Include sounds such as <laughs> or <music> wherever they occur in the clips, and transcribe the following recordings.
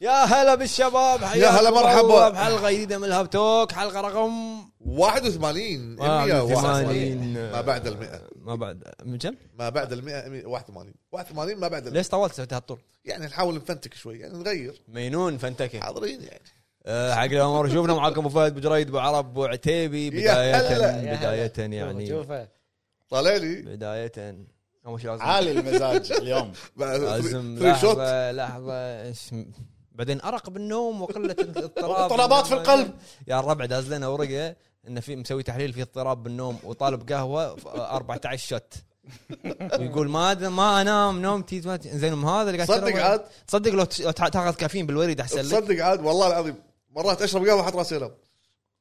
يا هلا بالشباب يا هلا مرحبا. حلقه جديده من الهاب توك حلقه رقم 81 آه، 181 81. ما بعد المئة ما بعد من كم؟ ما بعد المئة 100 81 81 ما بعد المئة ليش طولت سويت هالطول؟ يعني نحاول نفنتك شوي يعني نغير مينون فنتكه حاضرين يعني أه، حق الامور شوفنا معاكم ابو فهد ابو جريد ابو عرب ابو عتيبي يا هلا. بدايه يا بدايه هلا. يعني شوفه طالع لي بدايه اول شيء لازم عالي المزاج اليوم لازم ثري شوت لحظه لحظه إيش م- بعدين ارق بالنوم وقله الاضطراب <laughs> واضطرابات في القلب. يا الربع داز لنا ورقه انه في مسوي تحليل في اضطراب بالنوم وطالب قهوه ف- 14 شوت <laughs> ويقول ما أدري- ما انام نومتي ما ت- زين أم هذا اللي قاعد تصدق تشربه؟ عاد؟ تصدق لو تش- لو تع- تاخذ كافيين بالوريد احسن لك تصدق عاد والله العظيم مرات اشرب قهوه احط راسي انام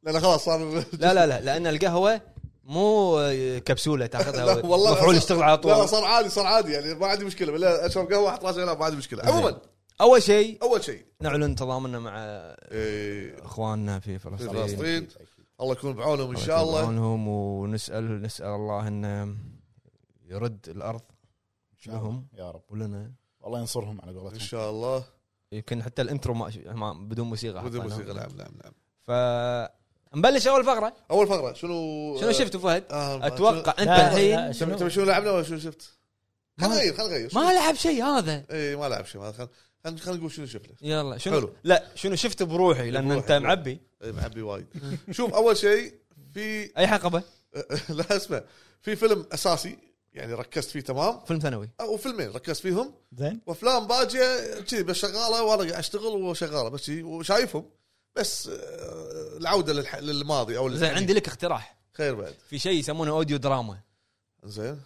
لان خلاص <laughs> صار لا لا لا لان القهوه مو آه، كبسوله تاخذها <laughs> لا، والله مفعول صار- يشتغل على لا لا طول صار عادي صار عادي يعني ما عندي مشكله بالله اشرب قهوه احط راسي انام ما عندي مشكله عموما اول شيء اول شيء نعلن تضامننا مع إيه، اخواننا في في فلسطين يعني فلسطين الله يكون بعونهم طيب، ان شاء الله عنهم ونسال نسال الله انه يرد الارض لهم يا رب ولنا والله ينصرهم على ان قولتهم شاء الله يمكن حتى الانترو ما ما- بدون موسيقى بدون حطيناها. موسيقى نعم نعم نعم ف نبلش اول فقره اول فقره شنو شنو شفت فهد؟ آه، اتوقع انت لا، الحين لا، شنو شنو؟ تبي شنو لعبنا ولا شنو شفت؟ ما- خلينا نغير خلينا نغير ما لعب شيء هذا اي ما لعب شيء ما خل- خلينا خلينا نقول شنو شفنا يلا شنو حلو. لا شنو شفت بروحي لان بروحي. انت معبي إيه، معبي وايد شوف اول شيء في اي حقبه لا اسمع في فيلم اساسي يعني ركزت فيه تمام فيلم ثانوي او فيلمين ركزت فيهم زين وافلام باجيه كذي بس شغاله وانا قاعد اشتغل وشغاله بس كذي وشايفهم بس آه، العوده للح... للماضي او زين للحنين. عندي لك اقتراح خير بعد في شيء يسمونه اوديو دراما زين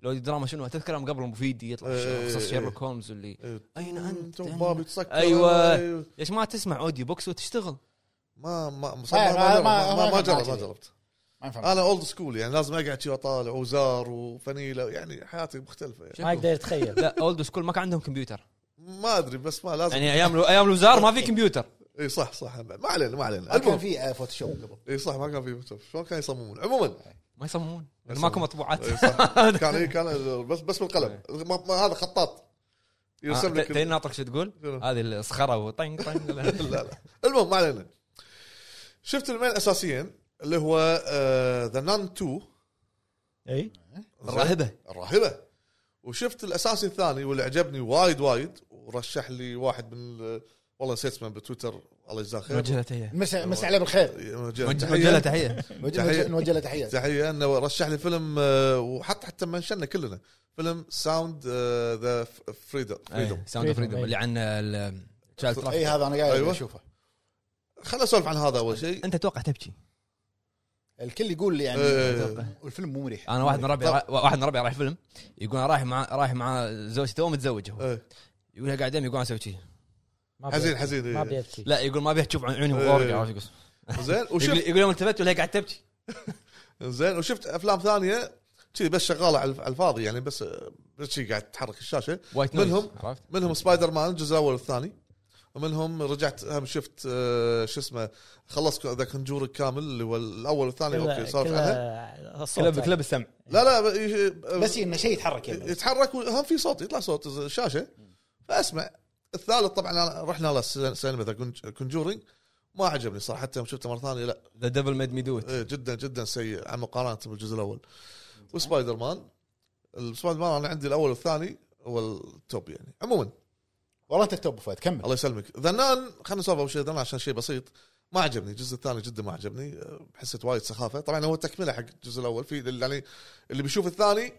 الاوديو دراما شنو تذكر يوم قبل مفيد يطلع إيه، قصص إيه. شيرلوك هولمز اللي إيه. اين انت انت بابي تسكر أيوة. ليش ما تسمع اوديو بوكس وتشتغل ما ما ما ما- ما- ما- ما- ما ما- جربت ما ما- جربت ما ينفع انا اولد سكول يعني لازم اقعد شي واطالع وزار وفنيله يعني حياتي مختلفه يعني. ما يقدر <laughs> يتخيل لا اولد سكول ما كان عندهم كمبيوتر ما ادري بس ما لازم يعني ايام ايام الوزاره ما في كمبيوتر اي صح صح ما علينا ما علينا ما كان المهم في آه، فوتوشوب قبل اي صح ما كان في مكتب. شلون كانوا يصممون عموما ما يصممون لأن يصممون. ماكو مطبوعات إي صح. كان إي كان بس بس بالقلم ما ما هذا خطاط يرسم آه، لك تدري ناطرك شو تقول؟ شنو؟ هذه الصخره وطنق طنق لا. <laughs> لا لا المهم ما علينا شفت المين الاساسيين اللي هو آه، ذا نان 2 اي الراهبه الراهبه وشفت الاساسي الثاني واللي عجبني وايد وايد ورشح لي واحد من ال- والله نسيت اسمه بتويتر الله يجزاه خير نوجه له تحيه مسا مسا عليه بالخير نوجه له نوجه له تحيه تحيه <laughs> نوجه- تحية. نوجه- نوجه له تحيه تحيه انه رشح لي فيلم آه، وحط حتى منشنا كلنا فيلم آه، ساوند ذا فريدم فريدم ساوند اوف Freedom، فريدم أي. اللي عن تشايلد اي ترافيك إيه، هذا انا قاعد أيوة. اشوفه خلنا اسولف عن هذا اول شيء انت توقع تبكي الكل يقول لي يعني إيه. الفيلم مو مريح انا واحد من ربعي را- واحد من ربعي رايح فيلم يقول أنا رايح مع رايح مع زوجتي تو متزوج هو إيه. يقول لها قاعد يم يقول أنا اسوي شي ما بي- حزين حزين ما إيه. بيبكي لا يقول ما ابيها تشوف عيوني إيه. وغورقه عرفت شو قصدي؟ زين يقول وشفت يقول يوم التفت ولا قاعد تبكي زين وشفت افلام ثانيه كذي بس شغاله على على الفاضي يعني بس بس شي قاعد تحرك الشاشه وايت منهم- نويز عرفت؟ منهم سبايدر مان الجزء الاول والثاني ومنهم رجعت هم شفت آه، شو اسمه خلصت ذا كنجور الكامل اللي هو الاول والثاني اوكي سولف عنه كلب كلب كلب السمع لا لا ب- ي- بس انه شيء يتحرك يعني يتحرك وهم في صوت يطلع صوت الشاشه فاسمع الثالث طبعا أنا رحنا له السينما ذا كونجورينج ما عجبني صراحه حتى يوم شفته مره ثانيه لا ذا ديفل ميد مي دو ات إيه، جدا جدا سيء على مقارنه بالجزء الاول وسبايدر مان السبايدر مان انا عندي الاول والثاني هو التوب يعني عموما والله انت التوب فهد كمل الله يسلمك ذنان خلينا نسولف اول شيء ذنان عشان شيء بسيط ما عجبني الجزء الثاني جدا ما عجبني أه، حسيت وايد سخافه طبعا هو تكمله حق الجزء الاول في يعني اللي بيشوف الثاني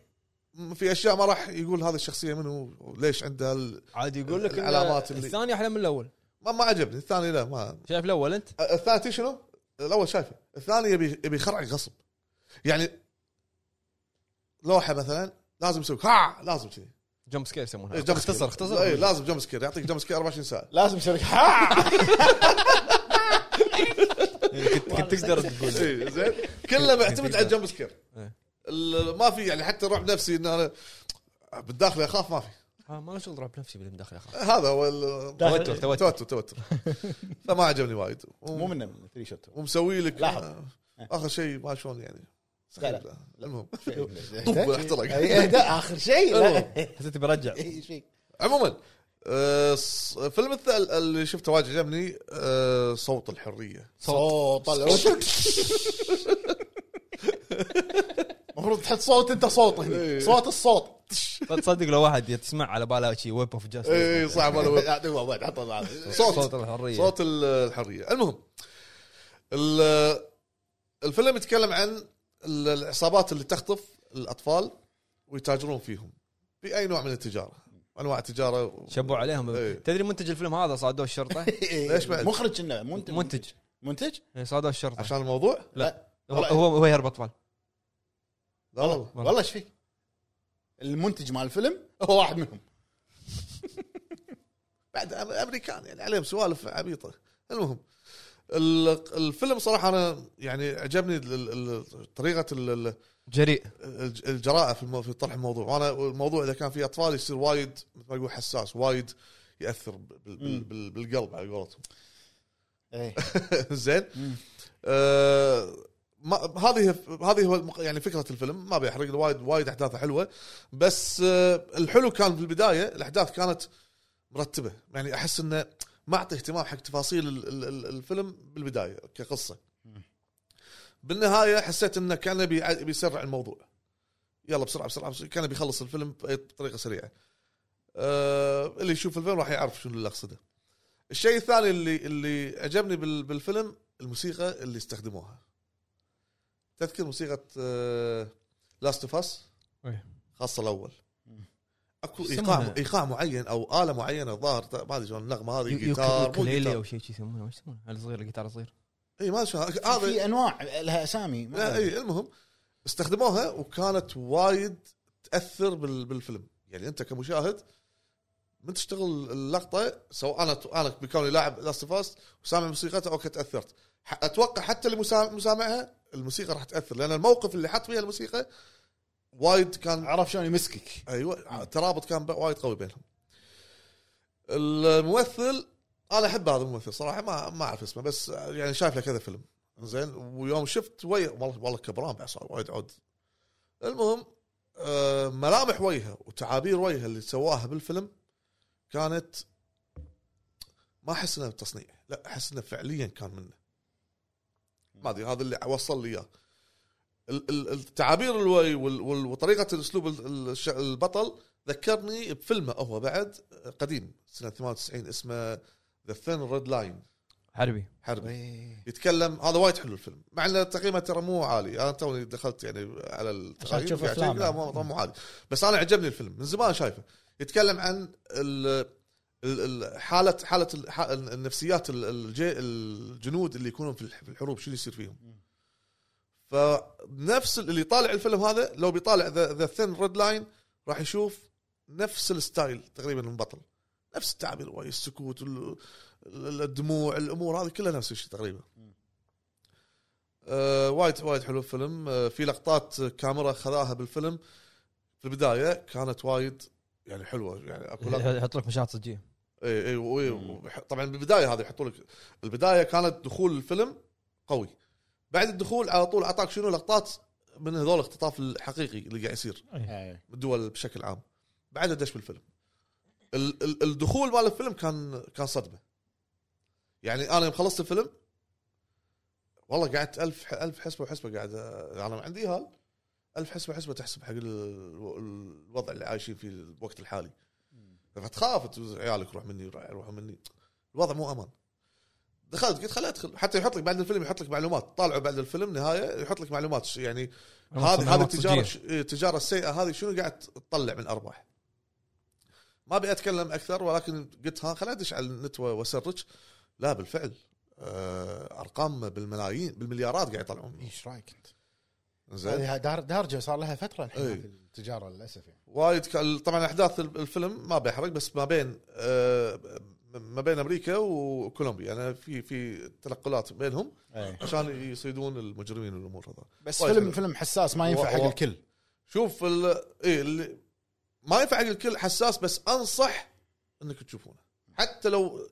م- في اشياء ما راح يقول هذه الشخصيه منو ليش عندها ال... عادي يقول لك إن العلامات اللي- الثاني احلى من الاول ما, ما عجبني الثاني لا ما شايف الاول انت؟ أه، الثاني تي شنو؟ الاول شايفه الثاني يبي يبي يخرع غصب يعني لوحه مثلا لازم يسوي ها لازم كذي جمب سكير يسمونها إيه، جمب اختصر سكير. اختصر إيه، لازم جمب سكير يعطيك جمب سكير 24 ساعه لازم يسوي لك <laughs> إيه، كنت كنت <laughs> تقدر تقول إيه، زين كله معتمد على الجمب سكير إيه. ال- ما في يعني حتى رعب نفسي ان انا بالداخل اخاف ما في آه، ما له شغل ضرب نفسي باللي داخل اخاف هذا هو ال- داخل- توتر توتر توتر توتر فما عجبني وايد و- مو منه <laughs> ثري شوت ومسوي لك لاحظ. اخر شيء ما شلون يعني لا، لا. إيه. سخيف. <laughs> المهم طب <laughs> احترق. اخر شيء لا حسيت برجع إيه، شيء عموما آه، ص- الفيلم الثالث اللي شفته واجد عجبني آه، صوت الحريه صوت طلع <laughs> المفروض تحط صوت انت صوت إيه. هنا صوت الصوت تصدق لو واحد تسمع على باله شيء ويب اوف اي جاستس صعب ولا <laughs> لا، دقيقة واحد، حط هذا. صوت إيه، صوت الحريه صوت ال- الحريه المهم ال- الفيلم يتكلم عن ال- العصابات اللي تخطف الاطفال ويتاجرون فيهم باي نوع من التجاره انواع التجاره شبوا عليهم إيه. تدري منتج الفيلم هذا صادوه <laughs> الشرطه <laughs> ليش بعد؟ مخرج انه منتج منتج منتج إيه، صادوه الشرطه عشان الموضوع لا هو والله- هو هو يهرب اطفال لا والله والله ايش فيك؟ المنتج مال الفيلم هو واحد منهم بعد أم- امريكان يعني عليهم سوالف عبيطه المهم ال- الفيلم صراحه انا يعني عجبني ال- ال- طريقه ال- ال- جريء الج- الجراءه في المو- في طرح الموضوع وانا الموضوع اذا كان فيه اطفال يصير وايد مثل ما يقول حساس وايد ياثر بال- بال- مم. بال- بالقلب على قولتهم <laughs> ايه زين مم. آه، ما- هذه هذه هو المق- يعني فكره الفيلم ما بيحرق له وايد وايد احداثه حلوه بس آه، الحلو كان في البدايه الاحداث كانت مرتبه يعني احس انه ما اعطي اهتمام حق تفاصيل ال- ال- ال- الفيلم بالبدايه كقصه بالنهايه حسيت انه كان بيع- بيسرع الموضوع يلا بسرعه بسرعه, بسرعة كان بيخلص الفيلم بطريقه سريعه آه، اللي يشوف الفيلم راح يعرف شنو اللي اقصده الشيء الثاني اللي اللي عجبني بال- بالفيلم الموسيقى اللي استخدموها تذكر موسيقى آه، لاست اوف اس إيه. خاصه الاول اكو يسمونها؟ ايقاع ايقاع معين او اله معينه ظاهر ما ادري شلون النغمه هذه طيب، جيتار مو يوكليلي جيتار او شيء شي يسمونه وش يسمونه الصغير الجيتار الصغير اي ما ادري شلون هذا في انواع لها اسامي ما لا أدري. اي آه، إيه، المهم استخدموها وكانت وايد تاثر بال- بالفيلم يعني انت كمشاهد من تشتغل اللقطه سواء انا انا بكوني لاعب لاست اوف وسامع موسيقتها اوكي تاثرت ح- اتوقع حتى اللي مسا- مسامعها الموسيقى راح تاثر لان الموقف اللي حط فيها الموسيقى وايد كان عرف شلون يمسكك ايوه ترابط كان بق- وايد قوي بينهم الممثل انا احب هذا الممثل صراحه ما ما اعرف اسمه بس يعني شايف له كذا فيلم زين ويوم شفت وجه والله والله كبران بعد صار وايد عود المهم آه، ملامح وجهه وتعابير وجهه اللي سواها بالفيلم كانت ما احس انها تصنيع لا احس انه فعليا كان منه ما ادري هذا اللي وصل لي اياه ال- ال- التعابير الوي وال- وال- وطريقه الاسلوب ال- ال- الش- البطل ذكرني بفيلمه هو بعد آه، قديم سنه 98 اسمه ذا ثين ريد لاين حربي حربي إيه. يتكلم هذا وايد حلو الفيلم مع ان تقييمه ترى مو عالي انا توني دخلت يعني على التقييم تشوف قاعد أفلام أشوف، لا يعني. مو مو- مو عالي بس انا عجبني الفيلم من زمان شايفه يتكلم عن ال ال- ال- حاله حاله ال- ح- النفسيات ال- الج- الجنود اللي يكونون في الح- في الحروب شو اللي يصير فيهم فنفس اللي يطالع الفيلم هذا لو بيطالع ذا ثين ريد لاين راح يشوف نفس الستايل تقريبا من البطل نفس التعبير واي السكوت ال- ال- الدموع الامور هذه كلها نفس الشيء تقريبا آه وايد وايد حلو الفيلم آه في لقطات كاميرا خذاها بالفيلم في البدايه كانت وايد يعني حلوه يعني إيه، <laughs> اكو لقطه يحط لك مشاهد صجيه اي اي وإي، وح- طبعا بالبدايه هذا يحطوا لك البدايه كانت دخول الفيلم قوي بعد الدخول على طول اعطاك شنو لقطات من هذول الاختطاف الحقيقي اللي قاعد يصير إيه. بالدول بشكل عام بعدها دش بالفيلم ال- ال- الدخول مال الفيلم كان كان صدمه يعني انا يوم خلصت الفيلم والله قعدت ألف ألف حسبه وحسبه قاعد أ- انا عندي هال ألف حسبه حسبه تحسب حق ال- ال- الوضع اللي عايشين فيه الوقت الحالي فتخاف تز- عيالك روح مني روح- روحوا مني الوضع مو امان دخلت قلت خليني ادخل حتى يحط لك بعد الفيلم يحط لك معلومات طالعوا بعد الفيلم نهايه يحط لك معلومات ش- يعني هذه هذه التجاره ش- التجاره السيئه هذه شنو قاعد تطلع من ارباح ما ابي اتكلم اكثر ولكن قلت ها خليني ادش على النت و- واسرج لا بالفعل آه، ارقام بالملايين بالمليارات قاعد يطلعون ايش رايك انت؟ زين هذه دار دارجه صار لها فتره الحين إيه. في التجاره للاسف يعني وايد كان طبعا احداث ال- الفيلم ما بيحرق بس ما بين آه، ما بين امريكا وكولومبيا يعني في في تنقلات بينهم عشان يصيدون المجرمين والامور هذا إيه. بس وايد فيلم حلو. فيلم حساس ما ينفع و- حق و- الكل شوف ال إيه اللي ما ينفع حق الكل حساس بس انصح انك تشوفونه حتى لو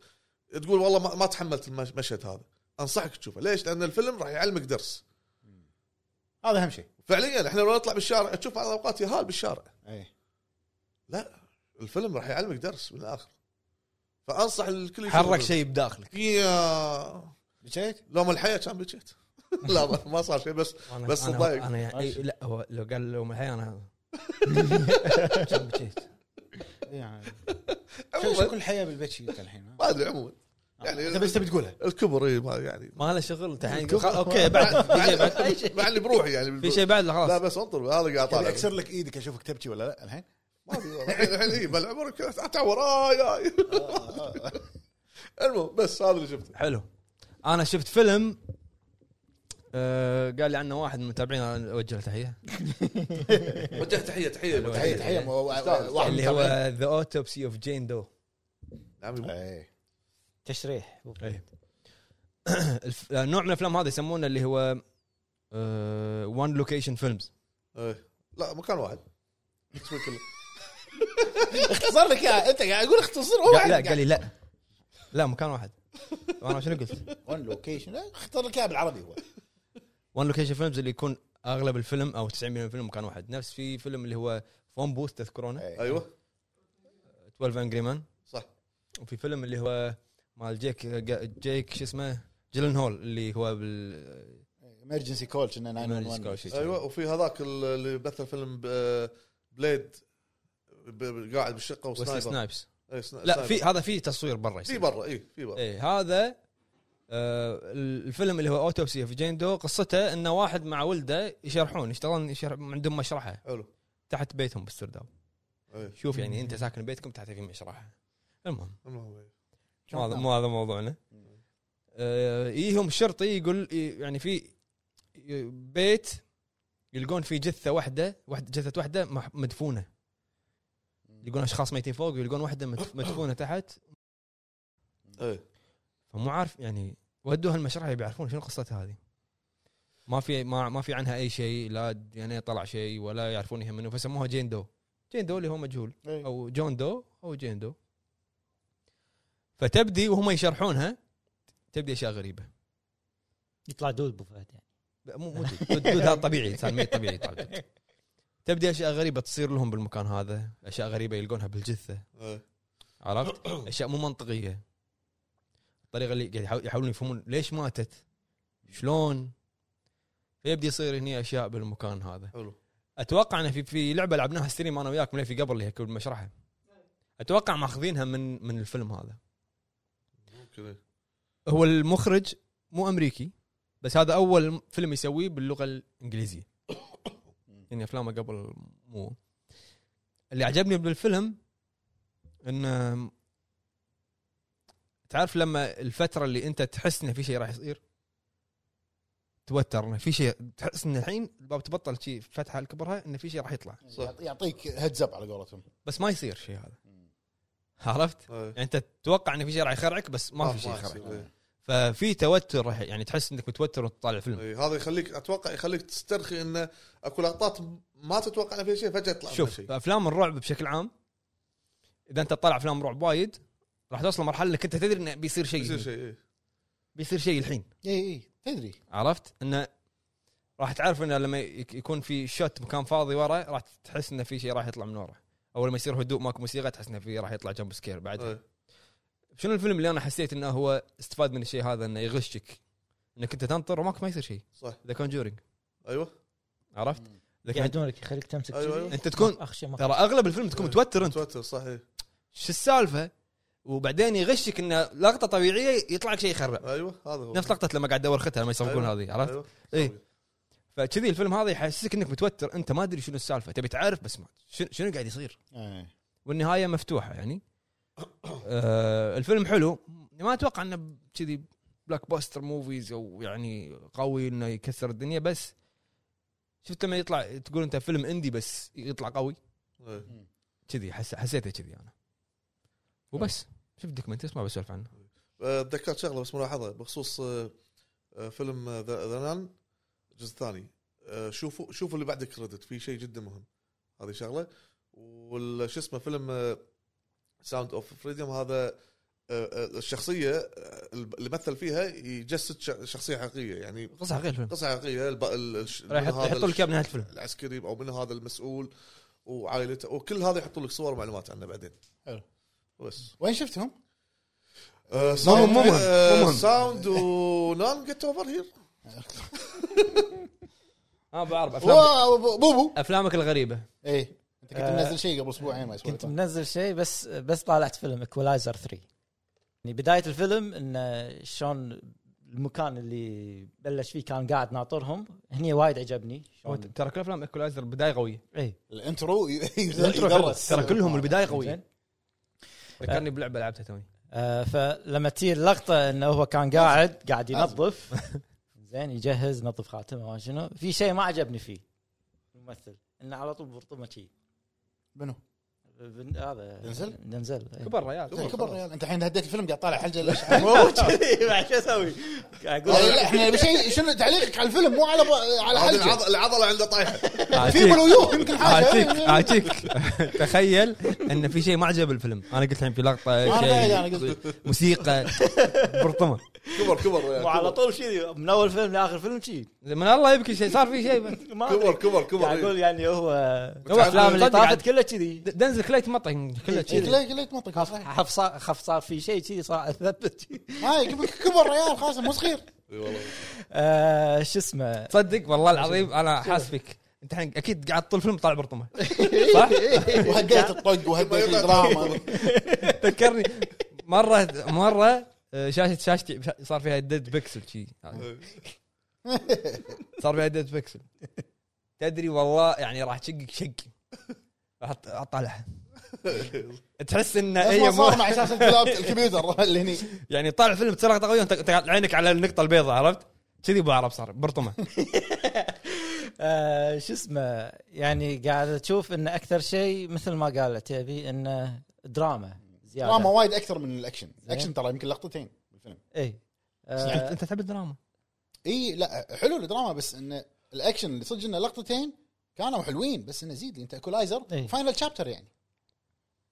تقول والله ما, ما تحملت المش- المشهد هذا انصحك تشوفه ليش؟ لان الفيلم راح يعلمك درس هذا اهم شيء فعليا احنا لو نطلع بالشارع تشوف على اوقات يهال بالشارع ايه الفيلم راح يعلمك درس من الاخر فانصح الكل يشوفه. حرك شيء بداخلك يا بشيت لو من الحياه كان بكيت <laughs> لا ما- ما صار شيء بس أنا بس أنا- تضايق. انا يعني ماشي. لا هو لو قال لو الحياه انا كان بجيت. <laughs> يعني شو- شو عموما كل الحياه بالبيت شيء الحين ها؟ ما ادري عموما يعني- انت بس تبي تقولها الكبر إيه، ما يعني ما له شغل تعال خل- اوكي بعد في شيء بعد أي شيء. مع اللي بروحي يعني في شيء بعد لا لا خلاص بس انطر هذا قاعد تبي طالع اكسر لك ايدك اشوفك تبكي ولا لا الحين؟ ما أدري. <laughs> آه، الحين الحين إيه، بالعمر كذا اتعور آي، آي. آه. المهم بس هذا اللي <laughs> شفته حلو انا شفت فيلم آه، قال لي عنه واحد من متابعينا أنا اوجه له تحيه وجه تحيه تحيه تحيه تحيه مو- إيه. واحد اللي هو ذا اوتوبسي اوف جين دو نعم إيه. تشريح اي الف- نوع من الافلام هذا يسمونه اللي هو آه، وان لوكيشن فيلمز إيه. لا مكان واحد اسمه <laughs> كله اختصر لك يا انت قاعد اقول اختصر هو لا قال لي لا لا مكان واحد انا شنو قلت؟ اون لوكيشن اختار لك اياها بالعربي هو وان لوكيشن فيلمز اللي يكون اغلب الفيلم او 90% من الفيلم مكان واحد نفس في فيلم اللي هو فون بوث تذكرونه إيه. ايوه 12 انجري مان صح وفي فيلم اللي هو مال جيك جيك شو اسمه جيلن هول اللي هو بال امرجنسي كول إيه، كنا Emergency 911 call شيء. ايوه وفي هذاك اللي مثل فيلم ب- بليد ب- ب- قاعد بالشقه ويسلي وسنايبر سنايبس إيه، سنا- لا سنايبر. في إيه. هذا في تصوير برا في يصير. برا اي في برا اي هذا آه الفيلم اللي هو اوتوبسي في جين دو قصته انه واحد مع ولده يشرحون يشتغلون يشرح عندهم مشرحه حلو إيه. تحت بيتهم باستردام اي شوف يعني انت ساكن بيتكم تحت في مشرحه المهم المهم، إي. مو هذا مو هذا موضوعنا آه يجيهم الشرطي يقول يعني في بيت يلقون فيه جثه واحده واحد جثه واحده مح- مدفونه إيه. يلقون اشخاص ميتين فوق يلقون واحده مدف- مدفونه تحت اي فمو عارف يعني ودوها المشرحه يبي يعرفون شنو قصتها هذه ما في ما, ما في عنها اي شيء لا دي ان اي طلع شيء ولا يعرفون هي منو فسموها جين دو جين دو اللي هو مجهول إيه. او جون دو او جين دو فتبدي وهم يشرحونها تبدي اشياء غريبه يطلع دود ابو فهد يعني لا، مو مو دود دود- دود هذا طبيعي انسان ميت طبيعي يطلع دود. تبدي اشياء غريبه تصير لهم بالمكان هذا اشياء غريبه يلقونها بالجثه إي. عرفت؟ اشياء مو منطقيه الطريقه اللي قاعد يحاول- يحاولون يفهمون ليش ماتت؟ شلون؟ فيبدي يصير هني اشياء بالمكان هذا حلو اتوقع انه في في لعبه لعبناها ستريم انا وياك من في قبل اللي هي كل مشرحه اتوقع ماخذينها من من الفيلم هذا ممكن إيه. إي. هو المخرج مو امريكي بس هذا اول فيلم يسويه باللغه الانجليزيه يعني افلامه قبل مو اللي عجبني بالفيلم انه تعرف لما الفتره اللي انت تحس انه في شيء راح يصير توتر انه في شيء تحس ان الحين الباب تبطل شيء فتحه لكبرها انه في شيء راح يطلع صح. يعطيك هيدز اب على قولتهم بس ما يصير شيء هذا عرفت؟ إي. يعني انت تتوقع انه في شيء راح يخرعك بس ما في شيء آه، يصير. يخرعك إي. ففي توتر راح يعني تحس انك متوتر وانت تطالع فيلم إي، إيه. هذا يخليك اتوقع يخليك تسترخي انه اكو لقطات ما تتوقع ان فيها شيء فجاه يطلع منها شوف شيء افلام الرعب بشكل عام اذا انت تطالع افلام رعب وايد راح توصل مرحله انك انت تدري انه بيصير شيء يصير بيصير شيء, شيء إيه. إي. بيصير شيء الحين اي اي إيه، تدري عرفت انه راح تعرف انه لما يك- يكون في شوت مكان فاضي ورا راح تحس انه في شيء راح يطلع من ورا اول ما يصير هدوء ماكو موسيقى تحس انه في راح يطلع جنب سكير بعد إي. شنو الفيلم اللي انا حسيت انه هو استفاد من الشيء هذا انه يغشك انك انت تنطر وماك ما يصير شيء صح ذا كونجورينج ايوه عرفت؟ إذا كان- يقعدونك يخليك تمسك أيوة، كذي. أيوة. انت تكون اخشى ما ترى اغلب الفيلم تكون متوتر انت توتر صح إي. شو السالفه وبعدين يغشك انه لقطه طبيعيه يطلع لك شيء يخرع ايوه هذا هو نفس لقطه لما قاعد ادور اختها لما يسوقون أيوة. هذه عرفت إيه. أيوة. إي. فكذي الفيلم هذا يحسسك انك متوتر انت ما ادري شنو السالفه تبي تعرف بس ما شنو- شنو قاعد يصير إيه. والنهايه مفتوحه يعني آه الفيلم حلو ما اتوقع انه كذي بلاك باستر موفيز او يعني قوي انه يكسر الدنيا بس شفت لما يطلع تقول انت فيلم اندي بس يطلع قوي إي. كذي حس حسيته كذي انا وبس شوف دوكيومنتس ما بسولف عنه أه، تذكرت شغله بس ملاحظه بخصوص أه، أه، فيلم ذا نان الجزء الثاني أه، شوفوا شوفوا اللي بعد الكريدت في شيء جدا مهم هذه شغله وش اسمه فيلم آه، ساوند اوف فريدم هذا أه، أه، الشخصيه أه، اللي مثل فيها يجسد ش- شخصيه حقيقيه يعني قصه غير الفيلم قصه حقيقيه الب- ال- الش- راح من يحط- هذا يحطوا لك إياه بنهايه الفيلم العسكري او من هذا المسؤول وعائلته وكل هذا يحطوا لك صور ومعلومات عنه بعدين حلو. بس وين شفتهم؟ آه، مو ساوند- مهم، مو مهم، آه، مو مهم. ساوند ونان جيت اوفر هير <laughs> ها آه، بعرف افلامك واو، بو- بوبو افلامك الغريبه ايه انت كنت آه، منزل شيء قبل اسبوعين ما يسوي كنت منزل شيء بس بس طالعت فيلم اكولايزر 3 يعني بدايه الفيلم انه شلون المكان اللي بلش فيه كان قاعد ناطرهم هني وايد عجبني هو شلون- ت- ترى كل افلام ايكولايزر بدايه قويه اي إيه. الانترو ي- الانترو يدرس. ترى كلهم البدايه زين. قويه ذكرني بلعبه لعبتها توني آه، فلما تجي اللقطه انه هو كان قاعد قاعد ينظف زين يجهز نظف خاتمه ما شنو في شيء ما عجبني فيه الممثل انه على طول برطمه شي منو؟ بن- هذا دنزل؟ دنزل إي. كبر ريال زين، كبر الرجال انت الحين هديت الفيلم قاعد طالع حلقه ليش؟ <laughs> <laughs> مو كذي إيه. بعد شو اسوي؟ قاعد اقول لا احنا نبي شيء شنو تعليقك على الفيلم مو على على هذه حلقه العض- العضله عنده طايحه آه، في ملويوه يمكن إيه. حاجه عاتيك <laughs> عاتيك <laughs> تخيل ان في شيء ما عجب الفيلم انا قلت الحين في لقطه أنا قاعد- أنا شيء موسيقى برطمه كبر كبر يا وعلى كبر طول شي من اول فيلم لاخر فيلم شي من الله يبكي شيء صار في شيء بس ما أدري. كبر كبر كبر قاعد اقول إيه. يعني هو هو الافلام اللي صدق طافت عاد. كلها كذي دنزل كليت مطعم كله إيه، كذي لا لا تمنطق هاي خاف صار خاف صار في شيء كذي صار اثبت شي. قبل كبر الرجال خلاص مو صغير إي إيه، والله. آه، شو <laughs> اسمه تصدق والله العظيم انا حاس فيك انت الحين اكيد قاعد طول الفيلم طالع برطمه صح؟ <laughs> وهديت الطق وهديت الدراما <laughs> تذكرني مره مره آه، شاشه شاشتي صار فيها ديد بيكسل شي صار فيها ديد بيكسل تدري والله يعني راح تشقك شق راح أط- اطالعها تحس ان بس ما هي صار مو- مع شاشه اللاب- الكمبيوتر <laughs> اللي هني يعني طالع فيلم بسرعه قويه وانت أنت عينك على النقطه البيضاء عرفت؟ كذي ابو عرب صار برطمه آه، شو اسمه يعني قاعد اشوف ان اكثر شيء مثل ما قالت تبي انه دراما زياده دراما وايد اكثر من الاكشن إيه. الاكشن ترى يمكن لقطتين بالفيلم اي آه، انت يعني تحب الدراما اي لا حلو الدراما بس انه الاكشن اللي صدق انه لقطتين كانوا حلوين بس انه زيد لي انت اكولايزر إيه. فاينل شابتر يعني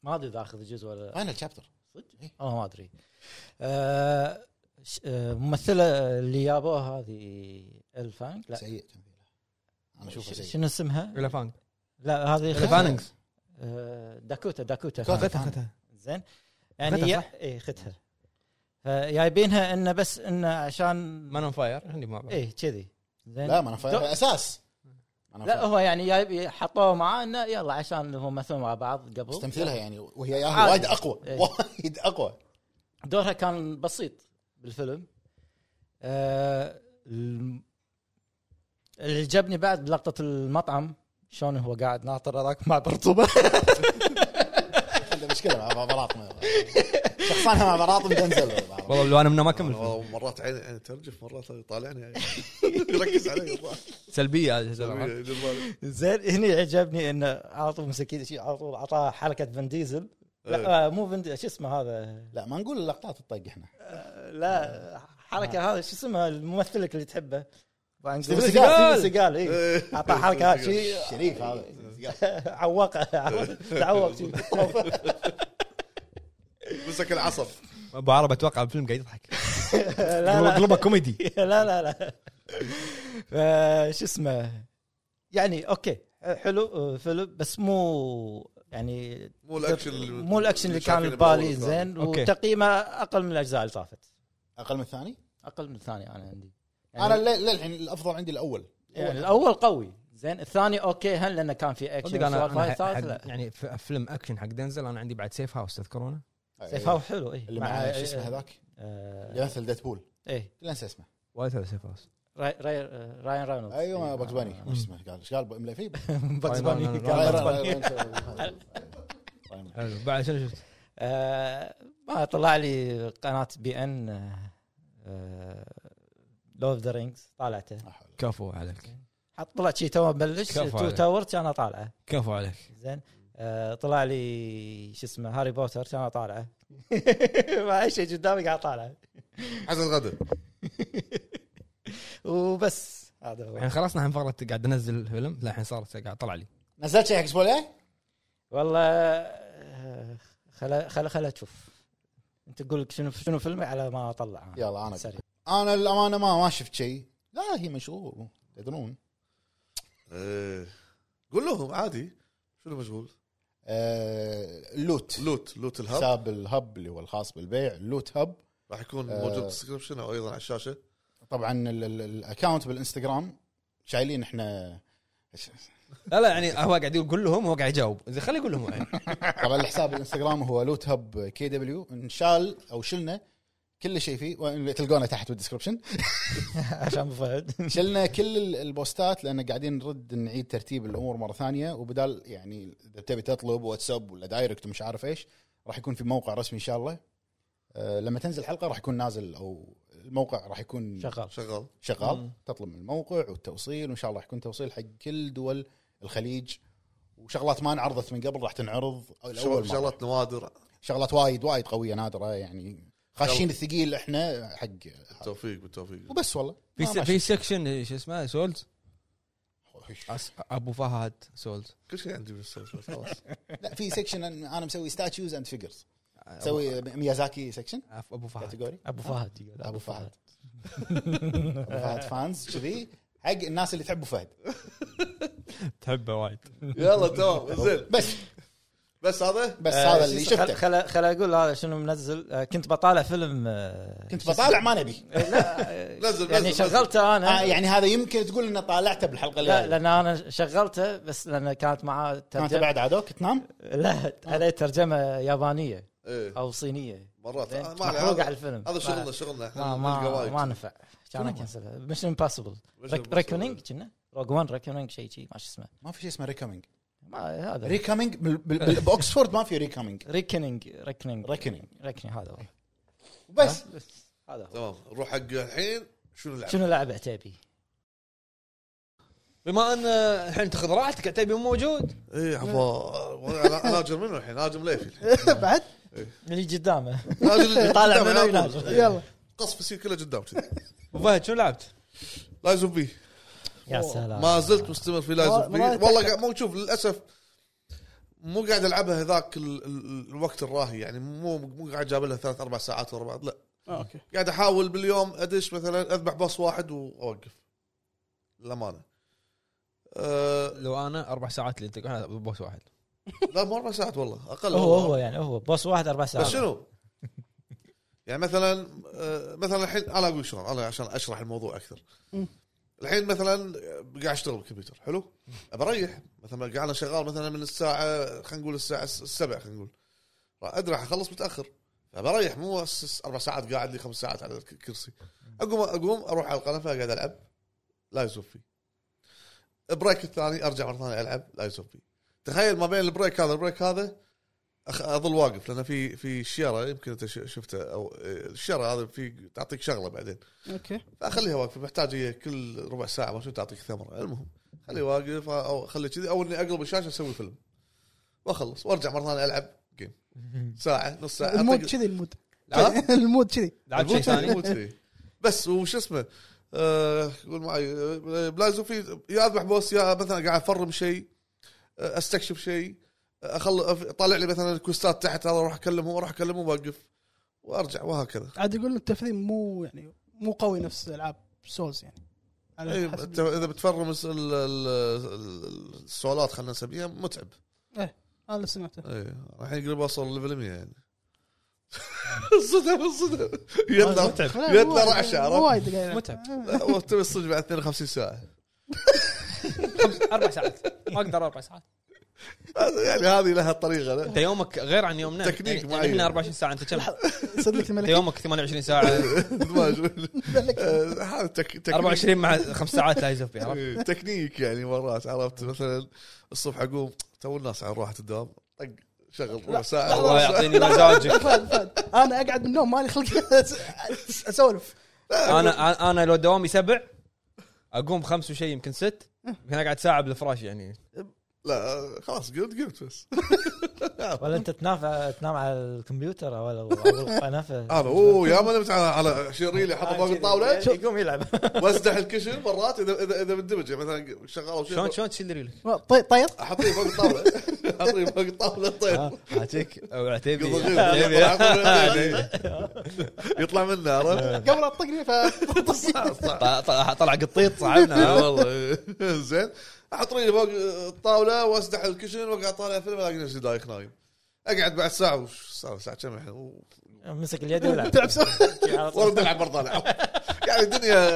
ما ادري اذا اخذ جزء ولا فاينل شابتر صدق اه ما ادري آه، ش- آه، ممثله اللي جابوها هذه الفانج لا سيء تمثيله انا اشوفه ش- سيء شنو اسمها؟ ولا فانج لا هذه ولا خت- فانكس آه، داكوتا داكوتا داكوتا. فانج. اختها اختها زين يعني ختها، يا- صح؟ اي ختها فجايبينها انه بس انه عشان مان اون فاير عندي ما أعرف. ايه كذي زين لا ما انا فاهم اساس أنا لا فاهم. هو يعني جايب حطوه معاه انه يلا عشان هم مثلوا مع بعض بس قبل تمثيلها يعني وهي ياها عادي. وايد اقوى إيه. وايد اقوى دورها كان بسيط بالفيلم آه الم- اللي عجبني بعد بلقطه المطعم شلون هو قاعد ناطر هذاك مع برطوبه عنده مشكله مع براطم شخصانها مع براطم دنزل والله لو انا منه ما كمل الفيلم. والله مرات عيني عيني ترجف مرات يطالعني يعني. <laughs> <laughs> يركز علي "إيه، الله. سلبيه هذه الزلمة. جبالي. <laughs> زين هني عجبني انه على طول مسكين شي على طول عطاه حركه فان ديزل لا آه مو فان ديزل، شو اسمه هذا لا ما نقول اللقطات الطق احنا آه، لا حركه هذا شو اسمه الممثلك اللي تحبه ستيفن ستيفن سيجال. سيجال اي إيه. اعطاه حركه <laughs> شيء شريف هذا عواقه <laughs> تعوق شي. مسك العصب ابو عرب اتوقع الفيلم قاعد يضحك لا لا قلبه كوميدي لا لا لا فا شو اسمه يعني اوكي حلو فيلم بس مو يعني مو الاكشن اللي- مو الاكشن اللي كان شايفينه ببالي بالأول والثاني. زين أوكي. وتقييمه اقل من الاجزاء اللي طافت اقل من الثاني اقل من الثاني انا عندي يعني انا لل- للحين الافضل عندي الاول يعني الاول قوي زين الثاني اوكي هل لانه كان في اكشن صدق انا, سوالف هاي أنا الثالث حق لا يعني ف- فيلم اكشن حق دنزل انا عندي بعد سيف هاوس تذكرونه سيف هاوس حلو إيه. آه، اي اللي مع شو اسمه هذاك أيوه. اللي مثل ديت بول اي كل انسى اسمه وايد حلو سيف هاوس راين راينولدز ايوه باكس باني مش اسمه قال ايش قال ملا فيه باكس باني راين- قال <laughs> راين- باكس <laughs> باني. حلو بعد شنو شفت؟ آه، ما طلع لي قناه بي آه، ان لوف ذا رينجز طالعته كفو عليك حط طلع شي تو مبلش كفو تو عليك. تاور كان طالعه كفو عليك زين آه، طلع لي شو اسمه هاري بوتر كان طالعه <laughs> ما اي شيء قدامي قاعد طالعه حسن غدا وبس هذا هو الحين خلصنا عن فقره قاعد انزل الفيلم لا الحين صارت قاعد طلع لي نزلت شيء حق إيه؟ الاسبوع الجاي؟ والله آه، خلا خلا خلا اشوف انت تقول لك شنو شنو فيلمي على ما اطلع أنا. يلا انا سريع انا الامانه ما ما شفت شيء لا هي مشغول تدرون إيه. قول لهم عادي شنو مشغول؟ آه، اللوت لوت لوت الهب حساب الهب اللي هو الخاص بالبيع اللوت هب راح يكون آه. موجود بالسكربشن او ايضا على الشاشه طبعا الاكونت بالانستغرام شايلين احنا لا لا يعني هو قاعد يقول لهم هو قاعد يجاوب زين خليه يقول لهم هو يعني طبعا الحساب الانستغرام هو لوت هب كي دبليو انشال او شلنا كل شيء فيه وإن تلقونه تحت بالدسكربشن <laughs> عشان ابو فهد شلنا كل ال- البوستات لان قاعدين نرد نعيد ترتيب الامور مره ثانيه وبدال يعني اذا تبي تطلب واتساب ولا دايركت ومش عارف ايش راح يكون في موقع رسمي ان شاء الله أه لما تنزل الحلقه راح يكون نازل او الموقع راح يكون شغال شغال شغال مم. تطلب من الموقع والتوصيل وان شاء الله راح يكون توصيل حق كل دول الخليج وشغلات ما انعرضت من قبل راح تنعرض شغل- الاول شغلات شغلات نوادر شغلات وايد وايد قويه نادره يعني خاشين الثقيل احنا حق بالتوفيق بالتوفيق وبس والله في ما- ما س- في سكشن شو اسمه سولز شفت. أس- ابو فهد سولز كل شيء عندي بالسوشيال <laughs> خلاص لا في سكشن انا مسوي ستاتشوز اند فيجرز أبو- مسوي ميازاكي سكشن عف- ابو فهد كاتيجوري ابو فهد يقول ابو فهد ابو فهد فانز كذي حق الناس اللي تحب أبو فهد تحبه وايد يلا تمام زين بس بس هذا بس آه، هذا اللي خل- شفته خل خل اقول هذا شنو منزل آه، كنت بطالع فيلم آه، إيه، كنت بطالع ما <laughs> نبي نزل يعني نزل، نزل. شغلته آه انا يعني هذا يمكن تقول انه طالعته بالحلقه اللي لا لا لان انا شغلته بس لان كانت معاه انت ترجمه بعد عادوك تنام لا آه. عليه ترجمه يابانيه إيه، او صينيه مرات آه، ما عليه، محروق على هذا- الفيلم هذا شغلنا ما- شغلنا ما احنا نلقى ما, ما وايد نفع كان اكنسلها مش امباسبل Mission Impossible. ريكونينج كنا روج وان ريكونينج شيء شيء ما شو اسمه ما في شيء اسمه ريكومينج ما هذا ريكومينج بال- بال- باوكسفورد ما في ريكومينج ريكونينج ريكونينج Reckoning. ريكونينج هذا هو <laughs> بس ها؟ هذا هو تمام نروح حق الحين شنو نلعب شنو لعبه عتيبي؟ بما ان الحين تاخذ راحتك عتيبي مو موجود اي عفوا إيه، أنا- انا اجر منه الحين اجر ليفي الحين بعد إيه. اللي قدامه <laughs> ناجر طالع قدام منه على طول. يناجر إيه. يلا قصف يصير كله قدام كذي ابو فهد شنو لعبت؟ لايز اوف بي يا سلام ما زلت مستمر في لايز اوف بي والله- والله قاعد- مو شوف للاسف مو قاعد العبها هذاك ال- ال- الوقت الراهي يعني مو مو قاعد جاب لها ثلاث اربع ساعات ورا بعض لا آه، <laughs> اوكي قاعد احاول باليوم ادش مثلا اذبح بوس واحد واوقف للامانه أه لو انا اربع ساعات اللي انت انا بوس واحد لا مو اربع ساعات والله اقل هو والله. هو يعني هو بوس واحد اربع ساعات بس شنو؟ يعني مثلا آه، مثلا الحين انا اقول شلون انا عشان اشرح الموضوع اكثر. مم. الحين مثلا آه، قاعد اشتغل بالكمبيوتر حلو؟ بريح مثلا قاعد انا شغال مثلا من الساعه خلينا نقول الساعه 7 خلينا نقول. ادري راح اخلص متاخر فبريح مو س- س- اربع ساعات قاعد لي خمس ساعات على الكرسي. اقوم اقوم اروح على القنفه اقعد العب لا يزوفي. بريك الثاني ارجع مره ثانيه العب لا يزوفي. تخيل ما بين البريك هذا البريك هذا أخ... اظل واقف لان في في شيره يمكن انت ش- شفته او آه، الشيره هذا في تعطيك شغله بعدين اوكي فاخليها واقفه محتاج هي كل ربع ساعه ما شو تعطيك ثمره المهم خليه واقف او خليه كذي او اني اقلب الشاشه اسوي فيلم واخلص وارجع مره ثانيه العب جيم ساعه نص ساعه المود أعطيك- كذي المود لا <laughs> المود كذي لعبت شيء مو كذي، ثاني مو كذي. بس وش اسمه آه، قول معي آه، بلازو في يا اذبح بوس يا مثلا قاعد افرم شيء آه، استكشف شيء آه، اخل أف- طالع لي مثلا كوستات تحت هذا اروح اكلمه اروح اكلمه واوقف وارجع وهكذا عاد يقول التفريم مو يعني مو قوي نفس العاب سولز يعني على إيه، حسب- أنت اذا بتفرم الس- ال- ال- ال- السوالات خلينا نسميها متعب إيه، انا اللي <laughs> سمعته اي الحين قريب اوصل ليفل 100 يعني <laughs> صدم صدم <laughs> يلا متعب لا، يطلع مو وايد- رعشة، عرفت؟ مو وايد قاعد <laughs> متعب. لا، <laughs> وتبي الصج بعد 52 ساعه اربع ساعات ما اقدر اربع ساعات هذا- يعني هذه لها طريقه لا. <laughs> <laughs> انت يومك غير عن يومنا تكنيك يعني- يعني معين. احنا 24 ساعه انت كم صدق انت الملك يومك 28 <laughs> ساعه دماغ. آه، <laughs> هذا تك- تكنيك 24 مع خمس ساعات لا يزف فيها <laughs> عرفت؟ إيه، تكنيك يعني مرات عرفت مثلا الصبح اقوم تو الناس على راحه الدوام طق شغل ربع ساعه الله يعطيني مزاجك فهد فهد انا اقعد من النوم مالي خلق <laughs> أس- اسولف انا أنا- انا لو دوامي سبع اقوم خمس وشي يمكن ست يمكن اقعد ساعه بالفراش يعني لا آه، خلاص قلت قلت بس ولا انت تنافع تنام على الكمبيوتر ولا على القنافه انا <laughs> اوه يا ما نمت على على شريلي احط امام الطاوله <laughs> يقوم يلعب واسدح الكشن مرات اذا اذا اذا مندمج يعني مثلا شغال او شلون شيء شلون تشيل ريلك؟ طير طير احطيه فوق <laughs> الطاوله احطيه فوق الطاوله آه، طيب حاجيك او عتيبي <laughs> قبل غير- يطلع- <laughs> يطلع منه آه. عرفت قبل اطقني صح- صح. طلع- طلع طلع قطيط صعبنا <laughs> <laughs> لا آه، والله زين احط رجلي فوق الطاوله واسدح الكشن واقعد طالع فيلم الاقي نفسي دايخ نايم اقعد بعد ساعه وش صار ساعه كم يعني؟ الحين مسك اليد ولا <laughs> تلعب سو والله بنلعب برضه العاب <laughs> يعني الدنيا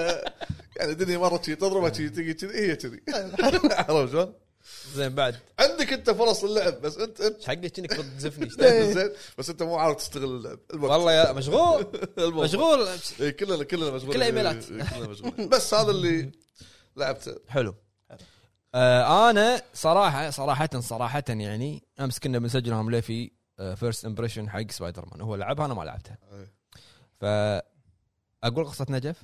يعني الدنيا مره شي تضربه شي <laughs> تجي كذي هي كذي عرفت شلون؟ زين بعد عندك انت فرص للعب بس انت انت ايش حقك انك <laughs> بتزفني زين بس انت مو عارف تستغل اللعب المهم إيه. والله يا <laughs> مشغول المهم. مشغول إيه، كلنا كلنا مشغولين كلها إيميلات. إيه، كلنا مشغولين بس هذا اللي <laughs> لعبته حلو آه انا صراحه صراحه صراحه يعني امس كنا بنسجل هم في فيرست امبريشن حق سبايدر مان هو لعبها انا ما لعبتها إيه. ف اقول قصه نجف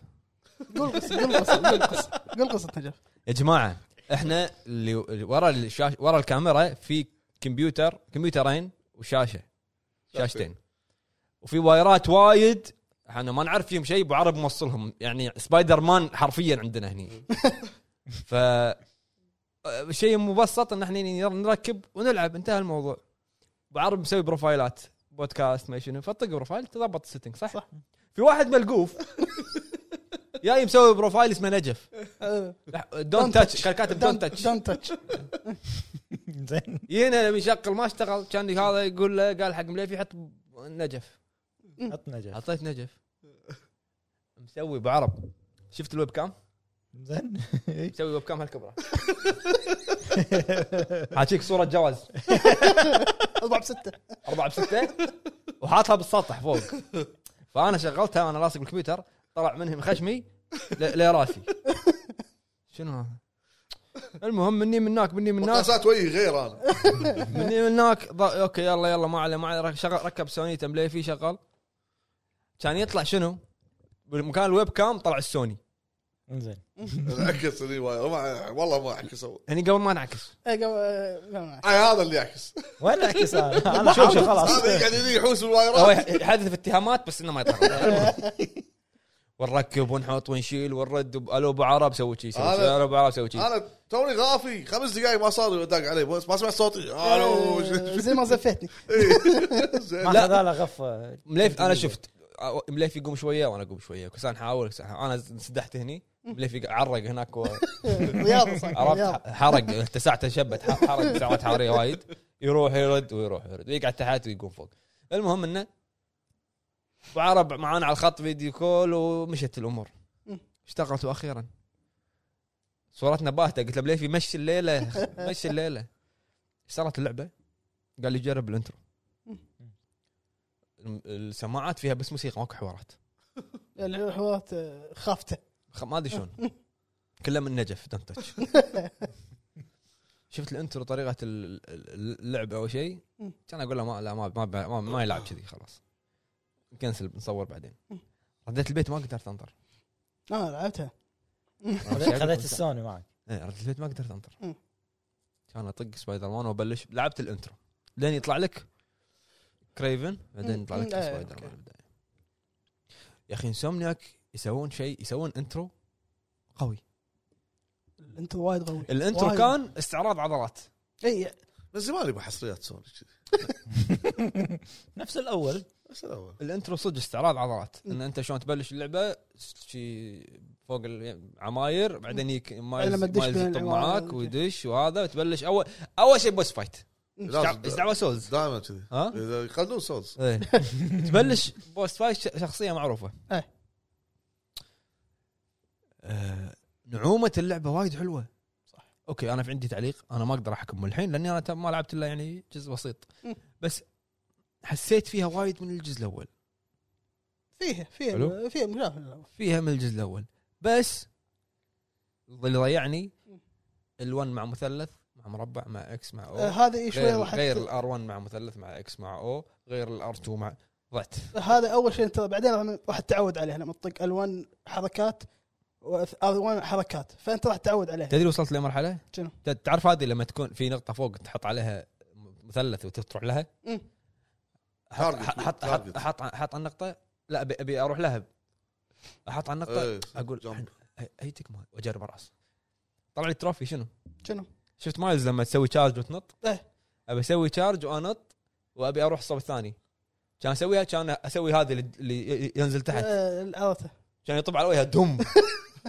قول قصه قول قصه قول قصه قول قصه نجف يا جماعه احنا اللي اللي ورا الشاشه ورا الكاميرا في كمبيوتر كمبيوترين وشاشه شاشتين وفي وايرات وايد احنا ما نعرف فيهم شيء ابو عرب موصلهم يعني سبايدر مان حرفيا عندنا هني <laughs> ف شيء مبسط ان احنا نر- نركب ونلعب انتهى الموضوع ابو عرب مسوي بروفايلات بودكاست ما شنو فطق بروفايل تضبط السيتنج صح؟ صح في واحد ملقوف جاي مسوي بروفايل اسمه نجف دونت تاتش كان كاتب دونت تاتش دون تاتش زين جينا لما يشغل ما اشتغل كان هذا يقول له قال حق مليفي حط نجف حط نجف حطيت نجف مسوي ابو عرب شفت الويب كام؟ زين <laughs> مسوي ويب كام هالكبره حاكيك صوره جواز اضرب سته أربعة بستة وحاطها بالسطح فوق فأنا شغلتها وأنا لاصق بالكمبيوتر طلع منه من خشمي ل- لراسي شنو هذا؟ المهم مني من هناك مني من هناك مقاسات وجهي غير <laughs> انا إيه. مني من هناك ض- اوكي يلا يلا ما عليه ما عليه رك- شغل ركب سوني تملي فيه شغل كان يطلع شنو؟ بمكان الويب كام طلع السوني زين انعكس اللي واير. ما- والله ما اعكس هو. هني يعني قبل ما <laughs> انعكس إيه، قبل- آه، قبل ما- آه، هذا اللي يعكس وين اعكس انا انا شوف شوف خلاص هذا قاعد يجي يحوس هو بالوايرات يح- يحذف اتهامات بس انه ما يطلع <laughs> ونركب ونحط ونشيل ونرد وب- الو ابو عرب سوي شي سوي شي هذا- الو ابو عرب سوي شي انا توني غافي خمس دقائق ما صار داق علي بس ما سمعت صوتي الو آه، إيه. <laughs> زي ما زفتني زين. ما خذ له غفه مليف انا شفت أو- مليف يقوم شويه وانا اقوم شويه كنت نحاول كنت نحاول. انا انسدحت هني مليف يق- عرق هناك و... رياضه صح رياضه عرفت حرق اتسعته شبت ح- حرق ساعات حراريه وايد يروح يرد ويروح يرد ويقعد تحت ويقوم فوق المهم انه ابو عرب معانا على الخط فيديو كول ومشت الامور اشتغلت واخيرا صورتنا باهته قلت له بليفي مشي الليله مشي الليله اشتغلت اللعبه قال لي جرب الانترو الم- السماعات فيها بس موسيقى ماكو حوارات الحوارات آه، خافته خ- ما ادري <laughs> شلون كله من نجف دونت تاتش <laughs> شفت الانترو طريقه ال- ال- اللعب او شيء كان اقول له ما لا ما ما, ما, ما يلعب كذي خلاص كنسل بنصور بعدين رديت البيت ما قدرت <laughs> انطر انا آه، لعبتها خذيت السوني معك ايه رديت البيت ما قدرت انطر مم. كان اطق سبايدر مان وابلش لعبت الانترو لين يطلع لك كريفن بعدين مم. يطلع لك مم. إيه، سبايدر أوكي. مان بالبدايه يا اخي انسومنياك يسوون شيء يسوون انترو قوي انت وايد قوي الانترو وايد. كان استعراض عضلات اي من زمان يبغى حصريات سوني كذي نفس الاول بس الأول. الانترو صدق استعراض عضلات ان انت شلون تبلش اللعبه شي فوق العماير بعدين يك مايلز لما تدش مايلز بين يطب العماير. معاك ويدش وهذا وتبلش اول اول شيء بوس فايت لازم- ايش دعوه سولز دائما كذي ها؟ إذا يخلون سولز <laughs> إيه. تبلش بوس فايت ش- شخصيه معروفه إيه. آه، نعومه اللعبه وايد حلوه صح اوكي انا في عندي تعليق انا ما اقدر احكم الحين لاني انا ما لعبت الا يعني جزء بسيط مم. بس حسيت فيها وايد من الجزء الاول فيها فيها حلو. فيها مشاكل فيها من الجزء الاول بس اللي ضيعني ال1 مع مثلث مع مربع مع اكس مع آه، او هذه إيه شوي غير راح غير ت- الار1 مع مثلث مع اكس مع او غير الار2 مع ضغط هذا اول شيء انت بعدين راح- راح تتعود عليه لما تطق الوان حركات والوان حركات فانت راح تتعود عليه تدري وصلت لمرحله شنو؟ ت- تعرف هذه لما تكون في نقطه فوق تحط عليها مثلث وتروح لها مم. احط Target. احط Target. احط احط احط على النقطه لا ابي ابي اروح لها احط على النقطه إيه، اقول جمب. أي- اي تكمه واجرب راس طلع لي التروفي شنو؟ شنو؟ شفت مايلز لما تسوي تشارج وتنط؟ إيه. ابي اسوي تشارج وانط وابي اروح الصوب الثاني كان اسويها كان اسوي هذا اللي- اللي ينزل تحت آه، عرفته كان يطب على وجهه <laughs> دم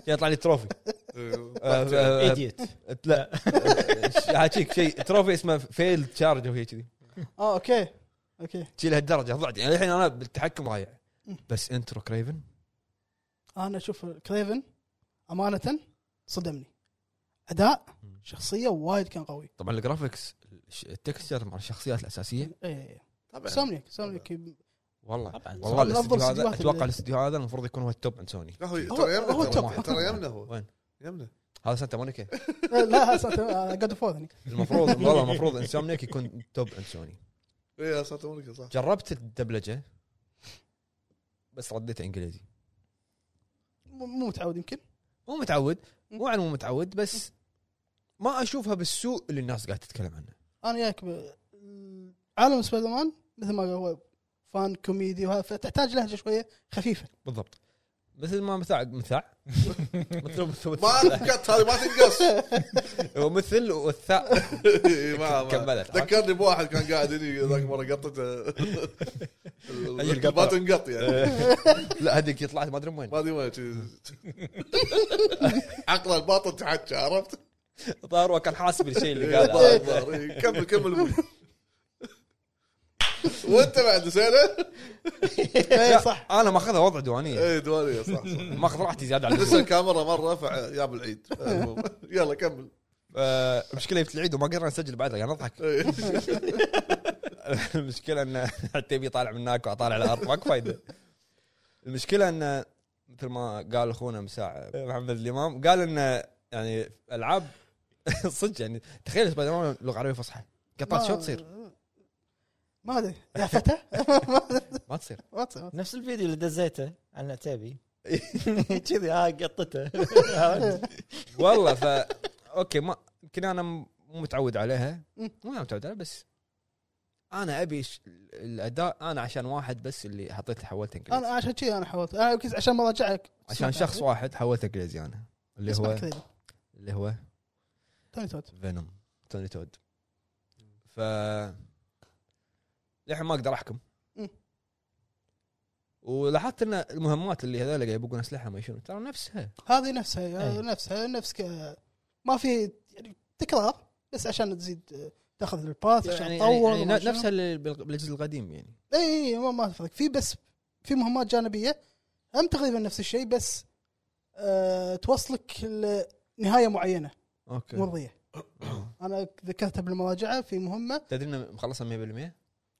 كان يطلع لي <laughs> تروفي إيه. آه، آه، ايديت آه، <laughs> لا حاجيك شيء تروفي اسمه فيل تشارج وهي كذي اه اوكي اوكي شي لهالدرجه ضعت يعني الحين انا بالتحكم ضايع بس انترو كريفن انا اشوف كريفن امانه صدمني اداء شخصيه وايد كان قوي طبعا الجرافكس الش- التكستشر مع الشخصيات الاساسيه اي اي طبعاً. سامنيك سامنيك والله طبعاً. والله من أفضل الاستديو هذا الاستديوهات اتوقع اللي- الاستديو هذا المفروض يكون هو التوب عند سوني لا، هو هو- ترى يمنا هو ترى. توب. ترى يمنا هو وين؟ يمنا هذا سانتا مونيكا لا <laughs> آه، قد فوز هني المفروض والله المفروض انسومنيك يكون توب عند سوني اي صارت امريكا صح جربت الدبلجه بس رديت انجليزي مو مو متعود يمكن مو متعود مو على مو متعود بس ما اشوفها بالسوء اللي الناس قاعده تتكلم عنه انا ياك ب... عالم سبايدر مان مثل ما قال هو فان كوميدي وهذا فتحتاج لهجه شويه خفيفه بالضبط مثل ما مثع <laughs> مثع مثل ما تنقص هذه ما تنقص ومثل والثاء إي، ما- ما. كملت. ذكرني بواحد كان قاعد هني ذاك مره <laughs> قطته أي ما قطة. تنقط إيه. يعني لا هذيك طلعت ما ادري من <laughs> وين ما ادري وين <laughs> شي- عقله الباطن تحكى عرفت؟ طار كان حاسب الشيء اللي إي، قاله الله أكبر. إي، إيه، كمل <laughs> كمل وانت بعد سنه إيه، اي صح انا ماخذها وضع دوانيه اي دوانيه إيه، صح صح ماخذ راحتي زياده على لسه اللزوم <laughs> الكاميرا مره فجاب العيد المهم. يلا كمل آه، المشكله جبت العيد وما قدرنا نسجل بعد يعني <laughs> نضحك إي. المشكله انه حتى يبي طالع من هناك وطالع على الارض ماكو فايده المشكله انه مثل ما قال اخونا مساع محمد الامام قال انه يعني العاب <laughs> صدق يعني تخيل سبايدر مان لغه عربيه فصحى قطات ما- طيب، شو تصير؟ ما ادري يا فتى <laughs> ما تصير ما تصير، ما تصير. نفس الفيديو اللي دزيته عن العتيبي <laughs> كذي ها قطته <laughs> عرفت؟ والله ف اوكي ما يمكن انا م- مو متعود عليها مو أنا متعود عليها بس انا ابي ش- الاداء انا عشان واحد بس اللي حطيت حولت انجليزي انا عشان كذي انا حاولت انا يمكن عشان ما راجعك عشان شخص واحد حولت انجليزي انا اللي هو اللي هو توني توت فينوم توني تود ف للحين ما اقدر احكم مم. ولاحظت ان المهمات اللي هذول قاعد يبقون اسلحه ما شنو ترى نفسها هذه نفسها أي. إيه. هذه نفسها نفس ك... ما في يعني تكرار بس عشان تزيد آه، تاخذ الباث عشان يعني, تطور يعني وما شنو. نفسها اللي بالق- بالجزء القديم يعني اي اي إيه، ما ما فرق في بس في مهمات جانبيه هم تقريبا نفس الشيء بس أه توصلك لنهايه معينه اوكي <coughs> مرضيه انا ذكرتها بالمراجعه في إيه، مهمه تدري انه مخلصها 100%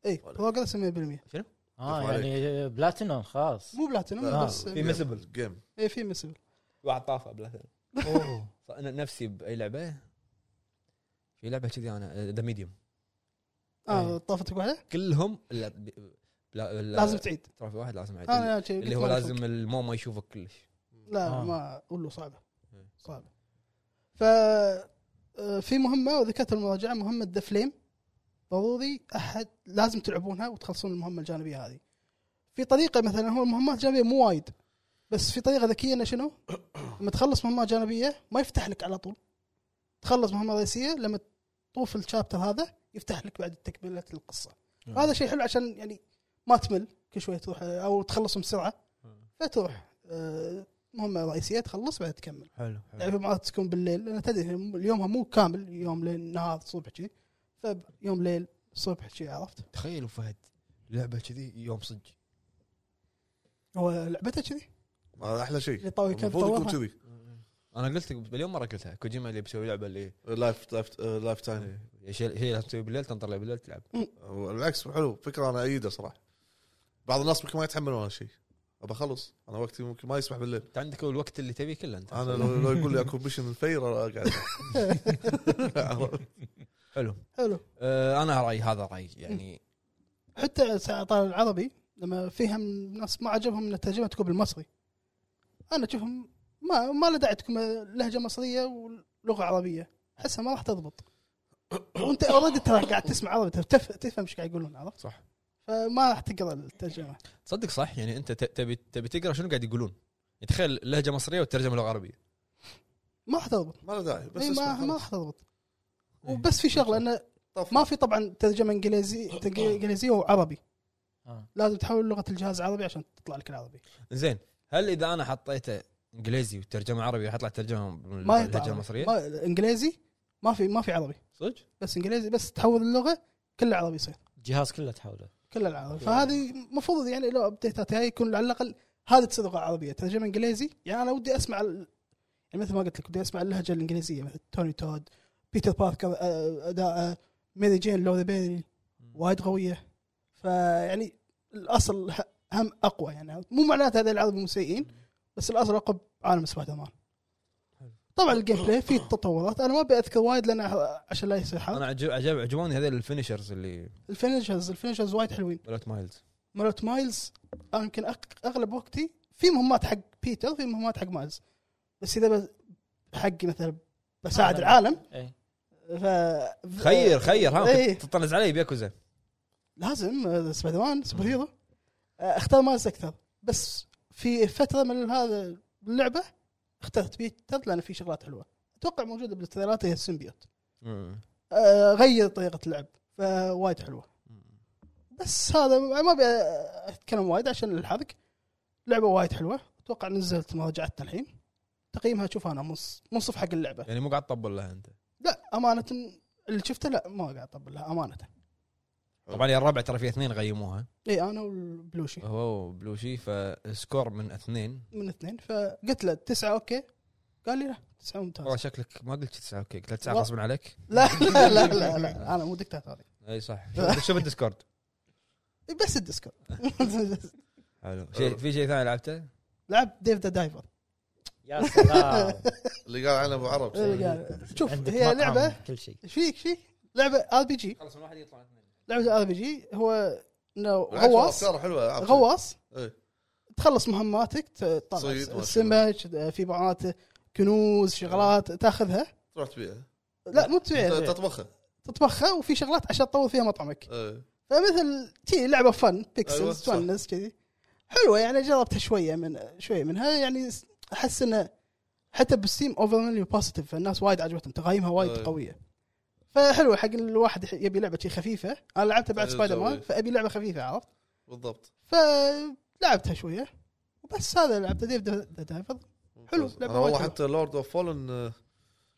اي بروجرس 100% مو اه يعني بلاتينوم خاص بلاتينوم آه، بس في مسبل جيم اي في مسبل واحد طافه بلاتين انا نفسي باي لعبه في لعبه كذي آه، انا ذا ميديوم اه طافتك واحده كلهم لا ب- إيه. لا لا- لازم تعيد ترى في واحد لازم أعيد. انا شي اللي قلت هو ما لازم أفرق. المو ما يشوفك كلش لا آه. ما اقول صعبه إيه. صعبه ف آه، في مهمه وذكرت المراجعه مهمه ذا فليم ضروري احد لازم تلعبونها وتخلصون المهمه الجانبيه هذه في طريقه مثلا هو المهمات الجانبيه مو وايد بس في طريقه ذكيه انه شنو؟ لما تخلص مهمه جانبيه ما يفتح لك على طول تخلص مهمه رئيسيه لما تطوف الشابتر هذا يفتح لك بعد تكمله القصه هذا شيء حلو عشان يعني ما تمل كل شويه تروح آه، او تخلص بسرعه فتروح آه، مهمه رئيسيه تخلص بعد تكمل حلو حلو لعبه مرات تكون بالليل لان تدري اليومها مو كامل يوم ليل نهار صبح شي فيوم ليل صبح شي عرفت تخيلوا فهد لعبه كذي يوم صدق هو لعبته كذي هذا احلى شيء اللي طاوي كان المفروض يكون طورها كذي انا قلت مليون مره قلتها كوجيما اللي بيسوي لعبه اللي لايف لايف آه، لايف تايم شيء شيء لازم تسوي بالليل تنطر لها بالليل تلعب بالعكس حلو فكره انا ايده صراحه بعض الناس ممكن ما يتحملون هالشيء ابى اخلص انا وقتي ممكن ما يسمح بالليل انت عندك الوقت اللي تبيه كله انت انا لو, لو يقول لي اكو ميشن الفير أنا قاعد عرفت؟ حلو حلو آه انا رايي هذا رايي يعني حتى ساعة طالع العربي لما فيهم ناس ما عجبهم ان الترجمه تكون بالمصري انا اشوفهم ما ما له داعي تكون لهجه مصريه ولغه عربيه احسها ما راح تضبط <coughs> وانت اوريدي ترى قاعد تسمع عربي تف- تفهم ايش قاعد يقولون عرفت صح فما راح تقرا الترجمه تصدق صح يعني انت ت- تبي تبي تقرا شنو قاعد يقولون يعني تخيل لهجه مصريه والترجمه لغه عربيه ما راح تضبط ما له داعي بس اي ما اسمع ما خلاص. راح تضبط إيه. وبس في شغله انه طف. ما في طبعا ترجمه انجليزي ترجمة انجليزيه وعربي آه. لازم تحول لغه الجهاز عربي عشان تطلع لك العربي زين هل اذا انا حطيته انجليزي وترجمه عربي راح يطلع ترجمه ما يطلع باللهجه عربي. المصريه؟ ما انجليزي ما في ما في عربي صدق؟ بس انجليزي بس تحول اللغه كله عربي يصير الجهاز كله تحوله كل الالعاب فهذه المفروض يعني لو ابديتات هاي يكون على الاقل هذه تصير لغه عربيه ترجمه انجليزي يعني انا ودي اسمع ال- يعني مثل ما قلت لك ودي اسمع اللهجه الانجليزيه مثل توني تود بيتر باركر آه، اداء ميري جين لوري بيري وايد قويه فيعني الاصل ه- هم اقوى يعني مو معناته هذا العرب مو سيئين بس الاصل اقوى بعالم سبايدر مان طبعا الجيم بلاي فيه تطورات انا ما بأذكر وايد لان أح- عشان لا يصير حرق انا عجب عجب عجبوني هذول الفينشرز اللي الفينشرز الفينشرز وايد حلوين بلوت مايلز مالت مايلز انا يمكن أق- اغلب وقتي في مهمات حق بيتر في مهمات حق مايلز بس اذا ب- حقي مثلا بساعد آه، العالم إيه. ف خير خير ها إيه. كنت تطنز علي بياكوزا لازم آه، سبايدر مان سوبر هيرو آه، اختار مايلز اكثر بس في فتره من هذا اللعبه اخترت بيتر لان في شغلات حلوه اتوقع موجوده بالتريلات هي السيمبيوت آه، غير طريقه اللعب فوايد حلوه بس هذا ما ابي اتكلم وايد عشان الحرق لعبه وايد حلوه اتوقع نزلت مراجعتنا الحين تقييمها شوف انا منص- منصف حق اللعبه يعني مو قاعد تطبل لها انت لا امانه اللي شفته لا ما قاعد اطبل لها امانه طبعا يا الربع ترى في اثنين غيموها اي انا والبلوشي هو بلوشي فسكور من اثنين من اثنين فقلت له تسعه اوكي قال لي لا تسعه والله ممتاز شكلك ما قلت تسعه اوكي قلت تسعه والله. غصبا عليك لا لا لا لا, لا. انا مو دكتاتوري اي <laughs> صح شوف- شوف الديسكورد بس الديسكورد <laughs> حلو شيء في شيء ثاني لعبته؟ لعب ديف ذا دايفر يا سلام اللي قال عنه ابو عرب شوف عندك هي مطعم لعبه كل شيء ايش فيك ايش فيك؟ لعبه ار بي جي خلاص من واحد يطلع اثنين لعبه ار بي جي هو انه بالعكس، غواص أفكاره حلوه ألعاب. غواص إيه. تخلص مهماتك تطلع صيد ما شاء السمك في بعضات كنوز إيه. شغلات تاخذها تروح تبيعها لا مو تبيعها تطبخها تطبخها وفي شغلات عشان تطور فيها مطعمك إيه. فمثل تي لعبه فن أيوة، بيكسلز صح. تونس كذي حلوه يعني جربتها شويه من شويه منها يعني س- احس انه حتى بالستيم اوفر بوزيتيف فالناس وايد عجبتهم تقييمها وايد أيوة. قويه فحلوه حق الواحد يح- يبي لعبه شي خفيفه انا لعبتها بعد أيوة، سبايدر مان جوي. فابي لعبه خفيفه عرفت بالضبط فلعبتها شويه وبس هذا لعبته ديف ذا دايفر حلو، لعبة انا والله وايد حتى لورد اوف فولن آه،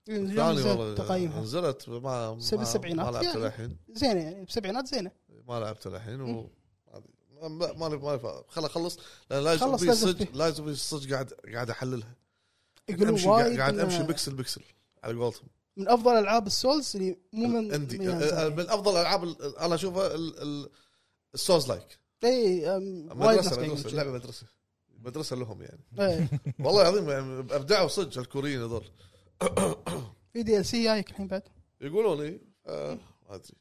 ثاني والله نزلت تقييمها نزلت ما ما- بالسبعينات. ما لعبت يعني. للحين زينه يعني بسبعينات زينه ما لعبت للحين مم. و ما ما لي ما لي خل اخلص لان لا يزول خلص، في لازم صدق فيه. لا يزول في صدق قاعد قاعد احللها يقولون امشي قاعد وايد قاعد إنها امشي بكسل بكسل على قولتهم من افضل العاب السولز اللي مو من عندي آه، من- يعني من افضل الالعاب ال- انا اشوفها ال- ال- السولز لايك اي أم، وايد ناس مدرسه قاعدين مدرسه يقولون لعبه مدرسه مدرسه لهم يعني إيه. والله العظيم يعني ابدعوا صدق الكوريين هذول في دي ال سي جايك الحين بعد يقولون لي آه ما ادري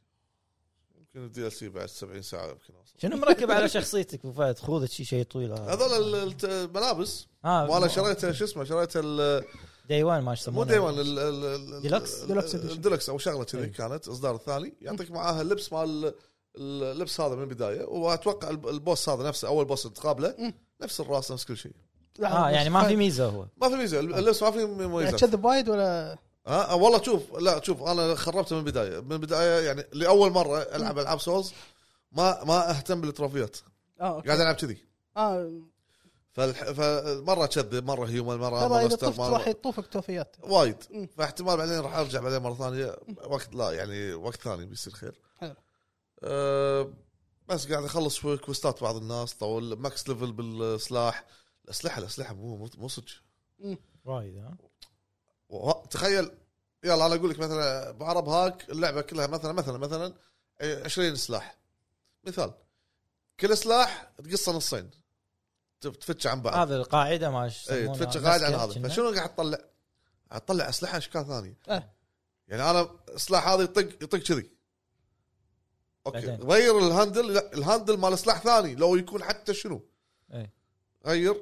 يمكن الدي ال سي بعد 70 ساعه يمكن اوصل شنو مركب على شخصيتك ابو فهد خوذة شي شيء طويل هذا. آه، هذول ال- الت- الملابس ها وانا شريتها شو اسمه شريتها ال- ديوان ما يسمونه مو ديوان ال- ال- ال- ديلوكس؟ ال- ديلوكس إديشن. الديلوكس او شغله أي. كذي إيه. كانت اصدار الثاني يعطيك معاها اللبس مال اللبس هذا من البدايه واتوقع الب- البوس هذا نفسه اول بوس تقابله مم. نفس الراس نفس كل شيء لحظة اه بس. يعني ما في ميزه هو ما في ميزه اللبس ما في يعني مميزات تكذب وايد ولا ها أه، والله شوف لا شوف انا خربت من البدايه من البدايه يعني لاول مره العب العاب سولز ما ما اهتم بالتروفيات اه اوكي قاعد العب كذي اه فالح... فمره كذب مره هيومن مره ترى اذا مونستر، طفت مرة- راح يطوفك توفيات وايد مم. فاحتمال بعدين راح ارجع بعدين مره ثانيه وقت لا يعني وقت ثاني بيصير خير حلو. أه بس قاعد اخلص في كوستات بعض الناس طول ماكس ليفل بالسلاح الاسلحه الاسلحه مو مو- مو صدق وايد ها و- تخيل يلا انا اقول لك مثلا بعرب هاك اللعبه كلها مثلا مثلا مثلا إيه، 20 سلاح مثال كل سلاح تقصه نصين تف- تفتش عن بعض هذا القاعده ما اي يسمونها تفتش قاعد إيه، عن هذا مسكة فشنو قاعد تطلع؟ قاعد تطلع اسلحه اشكال ثانيه آه. إيه. يعني انا سلاح هذا يطق يطق كذي اوكي بعدين. غير الهاندل لا الهاندل مال سلاح ثاني لو يكون حتى شنو إيه. غير يطق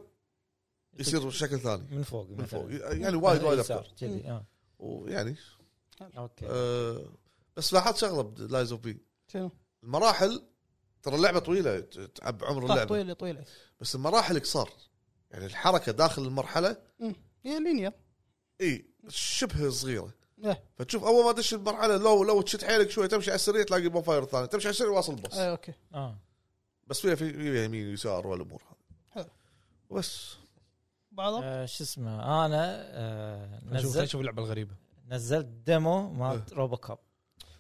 يصير شكل ثاني من فوق من مثلاً. آه، فوق يعني وايد وايد يسار، افكار كذي اه ويعني اوكي آه بس لاحظت شغله بلايز اوف بي شنو؟ المراحل ترى اللعبه طويله ت- تعب عمر طيب، طاح اللعبه طويله طويله بس المراحل قصار يعني الحركه داخل المرحله أمم. هي لينير اي شبه صغيره إيه. فتشوف اول ما تدش المرحله لو لو تشد حيلك شوي تمشي على السريع تلاقي بوفاير ثاني تمشي على السريع واصل البوس آه اوكي اه بس فيها في فيها يمين ويسار والامور هذه حلو. بس بعض آه، شو اسمه انا آه، نشوف نزلت نشوف اللعبه الغريبه نزلت ديمو إيه. مال روبوكاب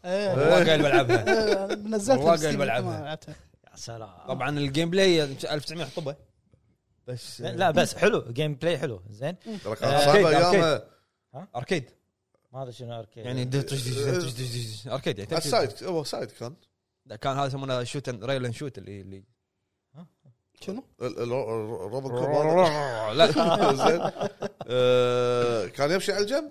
والله قايل بلعبها نزلت <laughs> والله قاعد بالستيم، بلعبها. ما لعبتها يا سلام طبعا الجيم بلاي 1900 حطبه بس آه، لا بس حلو جيم بلاي حلو زين ترى آه، كانت صعبه أوكي، ايامها اركيد ما ادري شنو اركيد يعني دج- دج- دج- دج- دج- دج- اركيد يعني تمشي- السايد هو سايد كان لا، كان هذا يسمونه شوت ريل اند شوت اللي اللي شنو؟ ال- ال- روبن كوب <laughs> هذا. لا <laughs> زين آه، كان يمشي على الجنب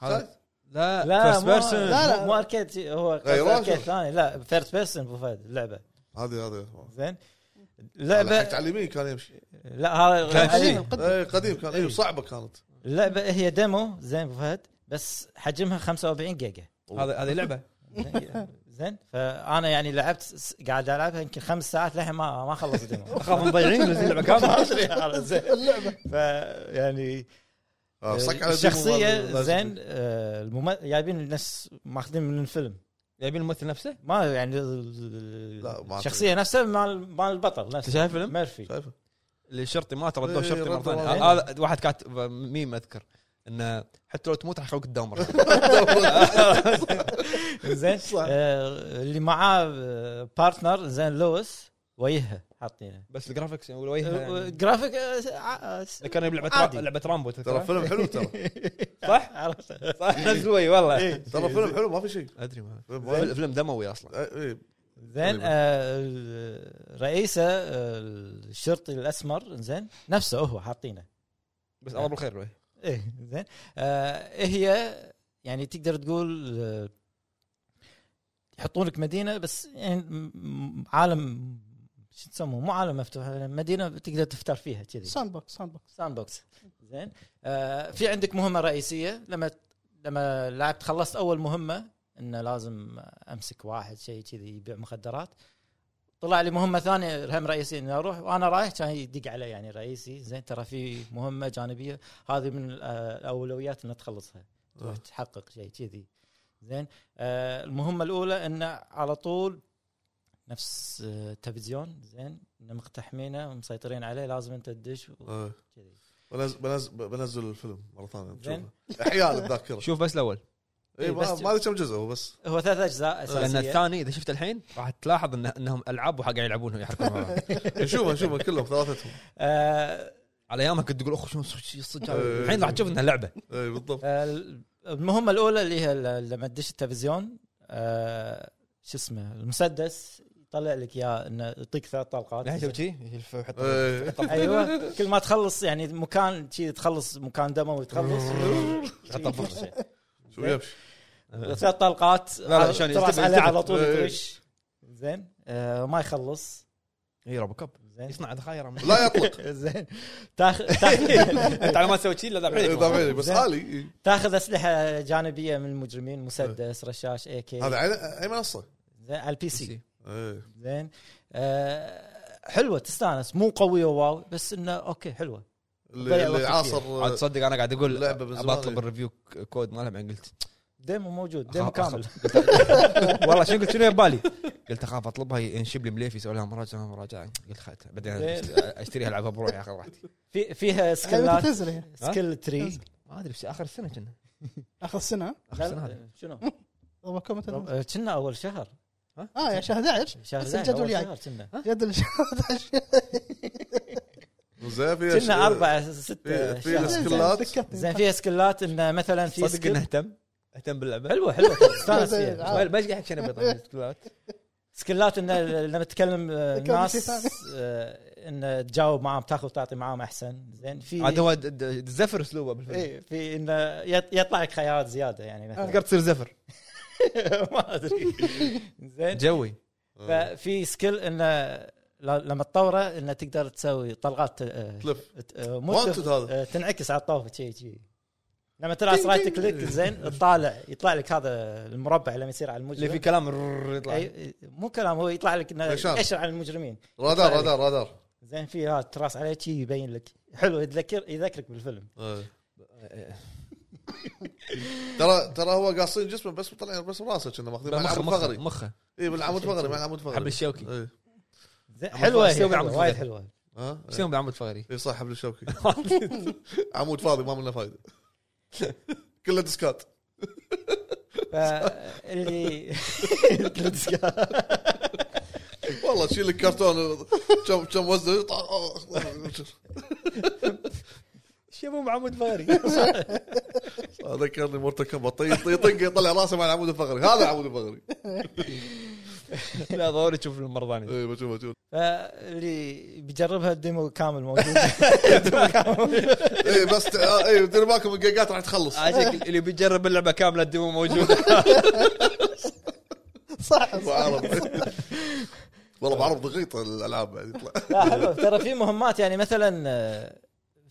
سايد هذا- لا لا لا مو بيرسون لا، لا. مو- مو اركيد هو غيروه اركيد شو؟ ثاني لا فيرست بيرسون ابو فهد اللعبه هذه هذه زين على حق اللعبه تعليمي كان يمشي لا هذا كان غير- شيء. قدم. إيه، قديم كان ايوه صعبه كانت اللعبه هي ديمو زين ابو فهد بس حجمها 45 جيجا هذا هذه لعبه زين- زين فانا يعني لعبت س- قاعد العبها يمكن خمس ساعات للحين ما ما خلصت <laughs> ديمو اخاف مضيعين اللعبه كامله <laughs> ما ادري على <laughs> زين اللعبه ف يعني آه، صك على الديمو الشخصيه مال- زين آه، الممثل جايبين نفس ماخذين من الفيلم جايبين الممثل نفسه ما يعني لا، ما الشخصيه نفسها مال مال البطل نفسه شايف الفيلم؟ ميرفي شايفه اللي الشرطي مات ردوه إيه، شرطي مره ردوه ثانيه مرة. هذا واحد كاتب ميم اذكر انه حتى لو تموت راح يخلوك الدومر <laughs> زين آه، اللي معاه بارتنر زين لويس وجهها حاطينه بس الجرافكس والوجه يعني جرافيك آه، آه، <laughs> ده كان لعبه عادي. را- لعبه رامبو ترى فيلم حلو <laughs> ترى صح؟ عرفت صح نفس وي والله إيه. ترى فيلم حلو ما في شيء ادري ما فيلم فيلم وايد. فيلم دموي اصلا آه، إيه، زين آه، رئيسه آه، الشرطي الاسمر زين نفسه هو حاطينه بس الله بالخير إيه. وي ايه زين آه، هي يعني تقدر تقول آه، يحطون لك مدينه بس يعني م- م- عالم شو تسموه مو عالم مفتوح مدينه تقدر تفتر فيها كذي ساند بوكس ساند بوكس ساند بوكس زين آه في عندك مهمه رئيسيه لما لما لعبت خلصت اول مهمه انه لازم امسك واحد شيء كذي يبيع مخدرات طلع لي مهمه ثانيه هم رئيسي اني اروح وانا رايح كان يدق علي يعني رئيسي زين ترى في مهمه جانبيه هذه من ال- آه، الاولويات ان تخلصها تروح تحقق شيء كذي زين آه المهمه الاولى انه على طول نفس آه، تلفزيون زين إنه مقتحمينه ومسيطرين عليه لازم انت تدش و- آه. كذي بنزل بنزل بنزل الفيلم مره ثانيه زين. إيه، نشوفه احياء الذاكره شوف بس الاول اي بس- إيه، ما ما ادري كم جزء هو <laughs> بس هو ثلاث اجزاء لان اساسيه الثاني اذا شفت الحين أه. راح تلاحظ إنه- انهم العاب وحق قاعد يلعبونهم يحركون مع <laughs> بعض. نشوفه نشوفه كلهم ثلاثتهم آه على ايامها كنت تقول اخ شو شو صدق إيه. الحين راح تشوف انها <laughs> لعبه اي إيه، بالضبط آه، المهمه الاولى اللي هي ال- لما تدش التلفزيون آه شو اسمه المسدس يطلع لك اياه انه يعطيك ثلاث طلقات لا شوف شي يحط إيه. ايوه كل ما تخلص يعني مكان شي تخلص مكان دموي <laughs> تخلص يحطها بفرشة. شو يمشي ثلاث طلقات لا، لا، عشان تراس يلتفت، عليه على يلتفت. طول إيه. يدش زين آه ما يخلص اي روبو إيه، كاب زين يصنع <laughs> ذخاير من- لا <laughs> يطلق زين تاخذ <laughs> تاخذ انت على ما تسوي شي لا إيه، ذبحيني طبيعي، بس زين. الي تاخذ اسلحه جانبيه من المجرمين مسدس رشاش اي كي إيه، هذا على- اي منصه زين على البي سي إيه. زين آه حلوه تستانس مو قويه واو بس انه اوكي حلوه اللي ضيع اللي وقت عاصر عاد تصدق انا قاعد اقول لعبة من زمان. بطلب الريفيو كود مالها بعدين قلت <laughs> ديمو موجود ديمو أخاف- كامل والله شنو قلت شنو ببالي قلت اخاف اطلبها ينشب لي مليف يسوي لها مراجعه مراجعه قلت خلتها بعدين زين. اشتريها العبها بروحي اخذ راحتي في فيها يعني سكلات تنزل هي سكيل تري ما ادري بس اخر السنه كنا اخر السنه اخر السنه هذه شنو؟ والله كم تنزل. آه، كنا اول شهر اه يا شهر 11 شهر بس زين، الجدول أول يعني. شهر كنا جدول شهر 11 زين في كنا اربع ستة في- في شهر <laughs> سكيل. سكلات. سكتني. زين فيها سكلات انه مثلا في صدق انه سكيل اهتم اهتم باللعبه حلوه حلوه تستانس زين. فيها آه. ما ايش قاعد عشان ابيض سكلات انه لما تكلم آه، تكلم شي ناس ثاني. آه، انه تجاوب معاهم تاخذ وتعطي معاهم احسن زين في عاد هو د- د- زفر اسلوبه بالفيلم ايه في انه يط- يطلع لك خيارات زياده يعني مثلا تقدر تصير زفر <laughs> ما ادري زين جوي إيه. ففي سكيل انه ل- لما تطوره انه تقدر تسوي طلقات آه، تلف ت- آه، مو وانتد تلف، هذا آه، تنعكس على الطوفه شي شي لما تراس رايت كليك زين تطالع يطلع لك هذا المربع لما يصير على اللي فيه المجرم كلام ررر يطلع أي- مو كلام هو يطلع لك انه إشارة. يأشر على المجرمين رادار طيب. رادار رادار زين في هذا تراس عليه شي يبين لك حلو يذكر يذكرك بالفيلم إيه. ترى ترى هو قاصين جسمه بس مطلعين بس براسه كنا ماخذين مع مخه العمود مخه فقري مخه اي بالعمود فقري مع العمود حبل فقري الشوكي إيه. زين عم حلوه تسوي عم هي، حلوة، تسوي. وايد حلوه ها إيه. شنو بعمود فقري اي صح حبل الشوكي عمود فاضي ما منه فايده <laughs> كله ديسكات <laughs> فاللي والله تشيل لك كرتون كم كم وزنه يطلع- آه. شبو معمود فاري آه، ذكرني مورتل كومبات يطق يطق يطلع راسه مع العمود الفقري هذا العمود الفقري <laughs> <laughs> لا ضروري تشوف <laughs> المرضاني اي بشوف بشوف فاللي بيجربها الديمو كامل موجود اي بس آه، اي دير بالكم الجيجات راح تخلص عشان آه، اللي بيجرب اللعبه كامله الديمو موجوده صح أبو صح عرب والله بعرف ضغيط الالعاب بعد <laughs> يطلع لا حلو ترى في مهمات يعني مثلا آه،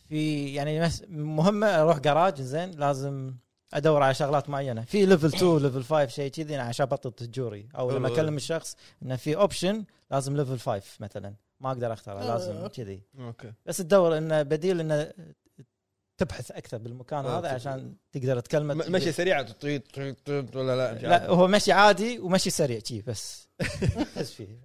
في يعني مس- مهمه اروح جراج زين لازم ادور على شغلات معينه في ليفل 2 ليفل 5 شيء كذي عشان ابطل تجوري او لما حلو. اكلم الشخص انه في اوبشن لازم ليفل 5 مثلا ما اقدر اختاره آه، لازم أوكي. كذي اوكي بس تدور انه بديل انه تبحث اكثر بالمكان آه، هذا تبحث. عشان تقدر تكلمه م- <laughs> مشي سريعه طيب، تطيط تطيط تطيط ولا لا مش لا عارف. هو مشي عادي ومشي سريع شي بس بس فيه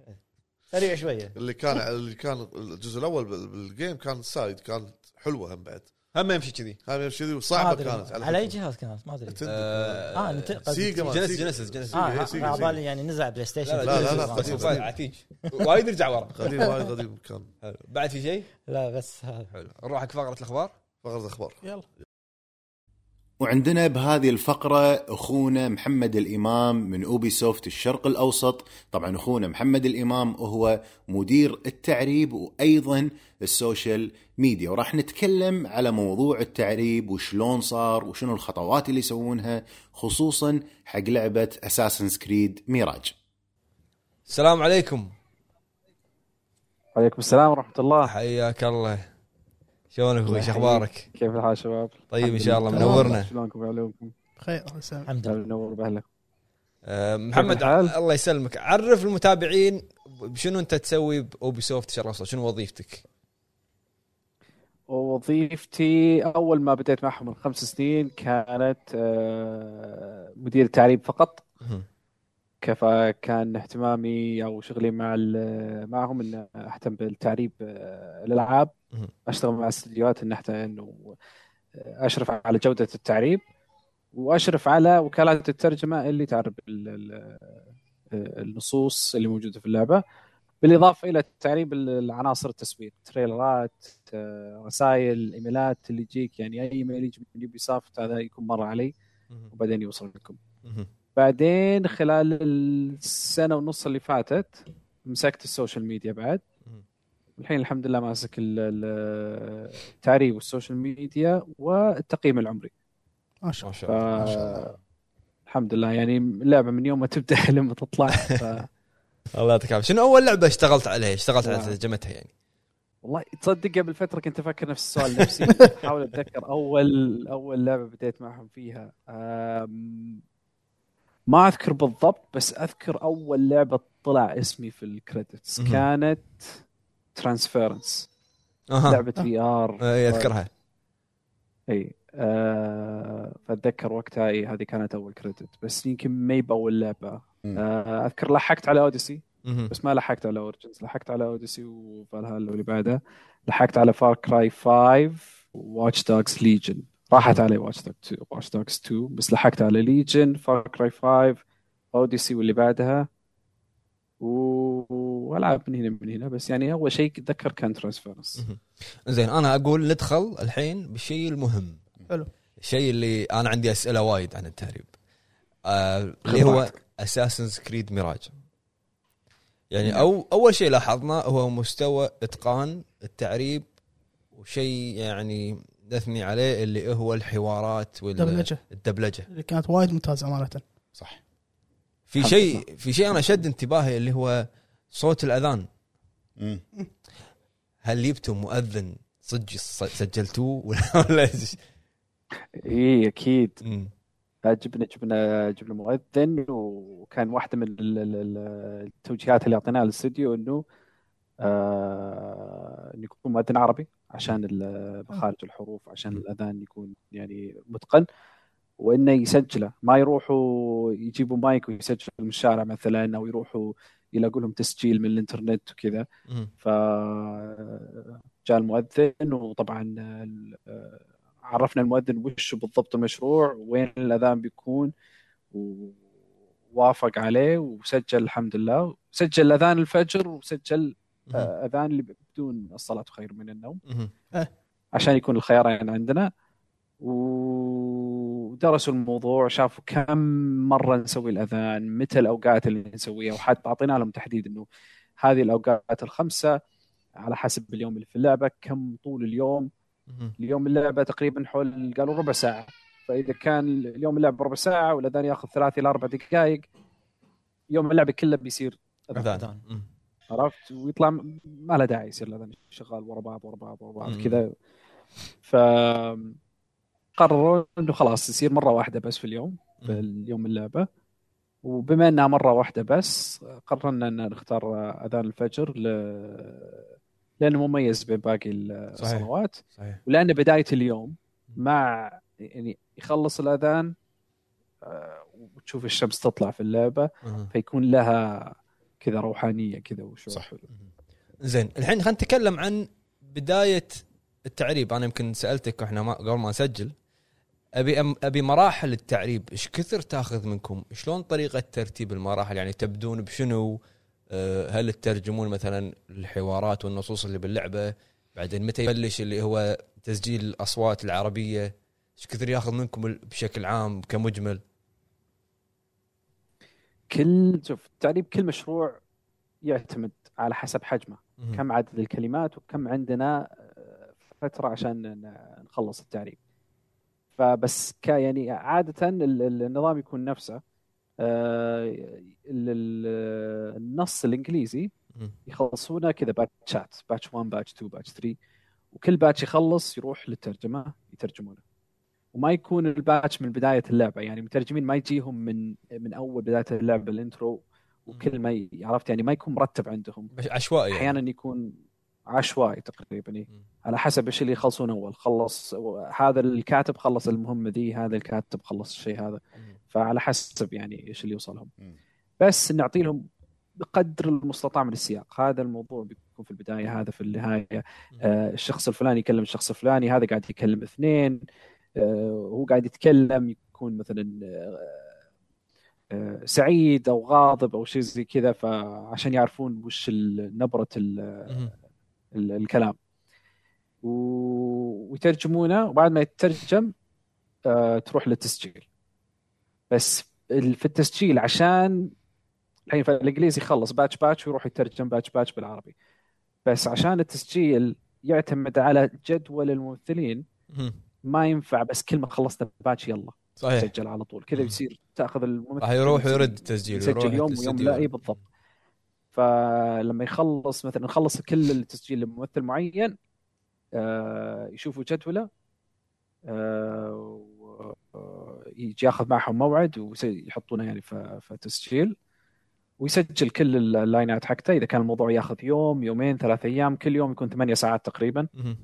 سريع شويه اللي كان اللي كان الجزء الاول بال- بالجيم كان سايد كان حلوه هم بعد هم يمشي كذي هم يمشي ذي ما وصعبه أدري. كانت على اي فكرة. جهاز كانت ما ادري آه، اه نت- قصدي- سيجا ما- جينيسيس سيجا. جينيسيس جينيسيس سيجا- اه سيجا- على بالي يعني نزع بلاي ستيشن لا لا، لا، لا قديم. لا عتيج وايد نرجع ورا قديم وايد قديم كان حلو. بعد في شيء لا بس آه، هذا حلو نروح حق فقره الاخبار فقره اخبار يلا وعندنا بهذه الفقرة أخونا محمد الإمام من أوبي سوفت الشرق الأوسط طبعا أخونا محمد الإمام هو مدير التعريب وأيضا السوشيال ميديا وراح نتكلم على موضوع التعريب وشلون صار وشنو الخطوات اللي يسوونها خصوصا حق لعبة أساسنز كريد ميراج السلام عليكم عليكم السلام ورحمة الله حياك الله شلونك اخوي شو اخبارك؟ كيف الحال شباب؟ طيب ان شاء الله الحمد لله. منورنا شلونكم وعلومكم؟ خير الله يسلمك الحمد لله منور بأهلا آه، محمد كيف الحال؟ الله يسلمك عرف المتابعين شنو انت تسوي باوبي سوفت شرق الأوسط، شنو وظيفتك؟ ووظيفتي أول ما بديت معهم من خمس سنين كانت آه، مدير تعريب فقط مهم. كيف كان اهتمامي أو شغلي مع ال- معهم أن أهتم بالتعريب آه، الألعاب مهم. أشتغل مع استديوهات إن إحنا إنه آه، أشرف على جودة التعريب وأشرف على وكالات الترجمة اللي تعرب ال- ال- النصوص اللي موجودة في اللعبة بالاضافه الى تعريب العناصر التسويق تريلرات آه، رسائل ايميلات اللي يجيك يعني اي ايميل يجي من يوبي سافت هذا يكون مر علي وبعدين يوصل لكم مهم. بعدين خلال السنه ونص اللي فاتت مسكت السوشيال ميديا بعد مهم. الحين الحمد لله ماسك ال- ال- التعريب والسوشيال ميديا والتقييم العمري ما شاء ما الله شاء الله ما شاء الله. الحمد لله يعني اللعبه من يوم ما تبدا <laughs> لما تطلع ف... الله يعطيك العافيه شنو اول لعبه اشتغلت عليها اشتغلت على نعم. ترجمتها يعني والله تصدق قبل فتره كنت افكر نفس السؤال نفسي احاول اتذكر اول اول لعبه بديت معهم فيها أم، ما اذكر بالضبط بس اذكر اول لعبه طلع اسمي في الكريدتس مهم. كانت ترانسفيرنس اها لعبه في ار اي اذكرها اي آه، فاتذكر وقتها اي هذه كانت اول كريدت بس يمكن ما هي باول لعبه مم. آه، اذكر لحقت على اوديسي مهم. بس ما لحقت على اورجنز لحقت على اوديسي وفالهالا واللي بعدها لحقت على فار كراي 5 واتش دوجز ليجن راحت علي واتش دوج 2 واتش دوجز 2 بس لحقت على ليجن فار كراي 5 اوديسي واللي بعدها و- والعاب من هنا من هنا بس يعني اول شيء اتذكر كان ترانسفيرنس زين انا اقول ندخل الحين بالشيء المهم حلو. الشيء اللي انا عندي اسئله وايد عن التهريب آه، اللي هو خبراتك. اساسنز كريد ميراج نعم. يعني او اول شيء لاحظناه هو مستوى اتقان التعريب وشيء يعني نثني عليه اللي هو الحوارات وال- دبلجه الدبلجه اللي كانت وايد ممتازه امانه صح في الحمد شيء في شيء انا شد انتباهي اللي هو صوت الاذان مم. هل جبتم مؤذن صدق ص- سجلتوه ولا- ولا <laughs> إيش؟ اي اكيد مم. جبنا جبنا جبنا مؤذن وكان واحده من ال- ال- ال- التوجيهات اللي اعطيناها للاستوديو انه آه انه يكون مؤذن عربي عشان ال- مخارج الحروف عشان الاذان يكون يعني متقن وانه يسجله ما يروحوا يجيبوا مايك ويسجلوا من الشارع مثلا او يروحوا يلاقوا لهم تسجيل من الانترنت وكذا مم. ف جاء المؤذن وطبعا ال- عرفنا المؤذن وش بالضبط المشروع وين الاذان بيكون و- ووافق عليه وسجل الحمد لله سجل اذان الفجر وسجل آه، اذان اللي بدون الصلاه خير من النوم مهم. عشان يكون الخيارين عندنا ودرسوا الموضوع شافوا كم مره نسوي الاذان متى الاوقات اللي نسويها وحتى اعطينا لهم تحديد انه هذه الاوقات الخمسه على حسب اليوم اللي في اللعبه كم طول اليوم مهم. اليوم اللعبه تقريبا حول قالوا ربع ساعه فاذا كان اليوم اللعبه ربع ساعه والاذان ياخذ ثلاث الى اربع دقائق يوم اللعبه كله بيصير اذان مم. عرفت ويطلع م- ما له داعي يصير لأن شغال ورا بعض ورا بعض ورا بعض مم. كذا ف قرروا انه خلاص يصير مره واحده بس في اليوم في اليوم اللعبه وبما انها مره واحده بس قررنا ان نختار اذان الفجر ل... لانه مميز بين باقي صحيح. الصلوات صحيح ولان بدايه اليوم مع يعني يخلص الاذان آه، وتشوف الشمس تطلع في اللعبه مهم. فيكون لها كذا روحانيه كذا وشعور صح. حلو زين الحين خلينا نتكلم عن بدايه التعريب انا يمكن سالتك واحنا ما قبل ما نسجل ابي أم ابي مراحل التعريب ايش كثر تاخذ منكم؟ شلون طريقه ترتيب المراحل؟ يعني تبدون بشنو؟ آه، هل تترجمون مثلا الحوارات والنصوص اللي باللعبه؟ بعدين متى يبلش اللي هو تسجيل الاصوات العربيه؟ ايش كثر ياخذ منكم ال- بشكل عام كمجمل؟ كل شوف تعريب كل مشروع يعتمد على حسب حجمه كم عدد الكلمات وكم عندنا آه، فترة عشان ن- نخلص التعريب فبس ك يعني عادة ال- ال- النظام يكون نفسه آه، ال- ال- النص الانجليزي مم. يخلصونه كذا باتشات باتش 1 باتش 2 باتش 3 وكل باتش يخلص يروح للترجمه يترجمونه وما يكون الباتش من بدايه اللعبه يعني المترجمين ما يجيهم من من اول بدايه اللعبه الانترو وكل ما ي- عرفت يعني ما يكون مرتب عندهم بش- عشوائي يعني. احيانا يكون عشوائي تقريبا إيه. مم. على حسب ايش اللي يخلصون اول خلص هذا الكاتب خلص المهمه ذي هذا الكاتب خلص الشيء هذا فعلى حسب يعني ايش اللي يوصلهم مم. بس نعطي لهم بقدر المستطاع من السياق هذا الموضوع بيكون في البدايه هذا في النهايه آه الشخص الفلاني يكلم الشخص الفلاني هذا قاعد يكلم اثنين آه هو قاعد يتكلم يكون مثلا آه آه سعيد او غاضب او شيء زي كذا فعشان يعرفون وش ال- نبره ال- مم. ال- الكلام و- ويترجمونه وبعد ما يترجم آه، تروح للتسجيل بس ال- في التسجيل عشان الحين فالانجليزي يخلص باتش باتش ويروح يترجم باتش باتش بالعربي بس عشان التسجيل يعتمد على جدول الممثلين مم. ما ينفع بس كل ما خلصنا باتش يلا صحيح سجل على طول كذا مم. بيصير تاخذ الممثل إيه. راح يروح ويرد التسجيل يسجل يروح يوم ويوم الاستديو. لا اي بالضبط فلما يخلص مثلا نخلص كل التسجيل لممثل معين آه، يشوفوا جدوله آه، و- آه، يجي ياخذ معهم موعد ويحطونه يعني في في تسجيل ويسجل كل ال- اللاينات حقته اذا كان الموضوع ياخذ يوم يومين ثلاث ايام كل يوم يكون ثمانية ساعات تقريبا مم.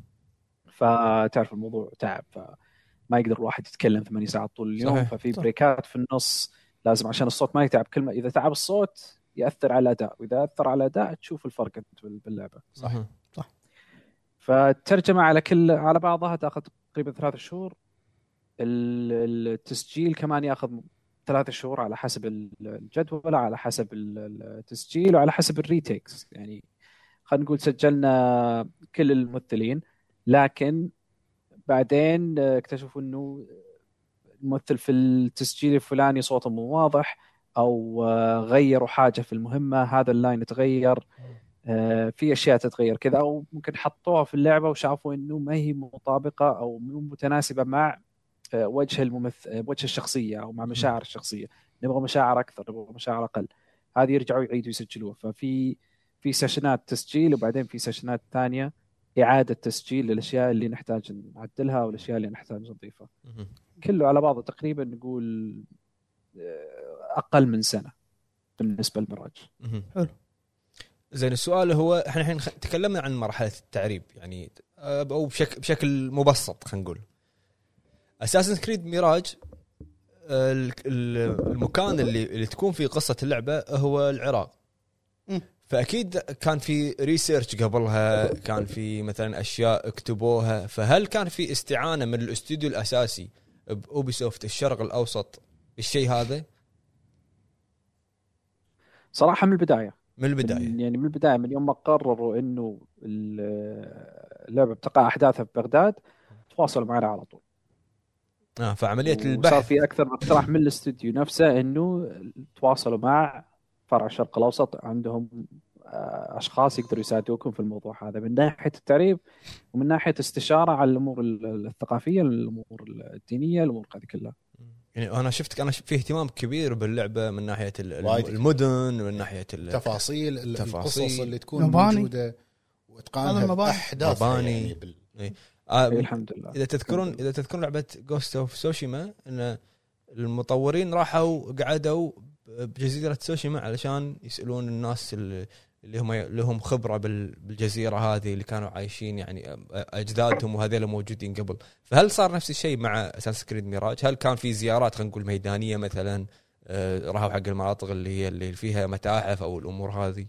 فتعرف الموضوع تعب فما يقدر الواحد يتكلم ثمانية ساعات طول اليوم صحيح، ففي صح. بريكات في النص لازم عشان الصوت ما يتعب كل ما اذا تعب الصوت ياثر على الاداء واذا اثر على الاداء تشوف الفرق أنت بال- باللعبه صح فالترجمه على كل على بعضها تاخذ تقريبا ثلاث شهور ال- التسجيل كمان ياخذ ثلاث شهور على حسب ال- الجدول على حسب ال- التسجيل وعلى حسب الريتيكس يعني خلينا نقول سجلنا كل الممثلين لكن بعدين آه، اكتشفوا انه الممثل في التسجيل الفلاني صوته مو واضح او آه، غيروا حاجه في المهمه هذا اللاين تغير آه، في اشياء تتغير كذا او ممكن حطوها في اللعبه وشافوا انه ما هي مطابقه او مو متناسبه مع آه، وجه الممثل وجه الشخصيه او مع مشاعر الشخصيه نبغى مشاعر اكثر نبغى مشاعر اقل هذه يرجعوا يعيدوا يسجلوها ففي في سيشنات تسجيل وبعدين في سيشنات ثانيه اعاده تسجيل للاشياء اللي نحتاج نعدلها والاشياء اللي نحتاج نضيفها مم. كله على بعضه تقريبا نقول آه، اقل من سنه بالنسبه للمراج مهم. حلو. زين السؤال هو احنا الحين خ- تكلمنا عن مرحله التعريب يعني آه، او بشكل بشكل مبسط خلينا نقول اساسن كريد ميراج آه، ال- ال- المكان اللي اللي تكون فيه قصه اللعبه هو العراق مم. فاكيد كان في ريسيرش قبلها كان في مثلا اشياء كتبوها فهل كان في استعانه من الاستوديو الاساسي باوبيسوفت الشرق الاوسط بالشيء هذا صراحه من البدايه من البدايه من يعني من البدايه من يوم ما قرروا انه ال- اللعبه بتقع احداثها في بغداد تواصلوا معنا على طول اه فعمليه وصار البحث في اكثر من اقتراح من الاستوديو نفسه انه تواصلوا مع فرع الشرق الاوسط عندهم آه، اشخاص يقدروا يساعدوكم في الموضوع هذا من ناحيه التعريب ومن ناحيه استشاره على الامور ال- الثقافيه الامور الدينيه الامور هذه كلها يعني انا شفتك انا ش- في اهتمام كبير باللعبه من ناحيه ال- وايد. المدن من ناحيه ال- تفاصيل ال- تفاصيل. القصص اللي تكون مباني. موجوده هذا واتقانها المباني. باحداث مباني. يعني بال- آه، إيه، الحمد لله اذا تذكرون اذا تذكرون لعبه جوست اوف سوشيما ان المطورين راحوا قعدوا بجزيره سوشيما علشان يسالون الناس ال- اللي هم لهم خبره بال- بالجزيره هذه اللي كانوا عايشين يعني اجدادهم وهذول موجودين قبل فهل صار نفس الشيء مع اساس كريد ميراج هل كان في زيارات خلينا نقول ميدانيه مثلا آه، راحوا حق المناطق اللي هي اللي فيها متاحف او الامور هذه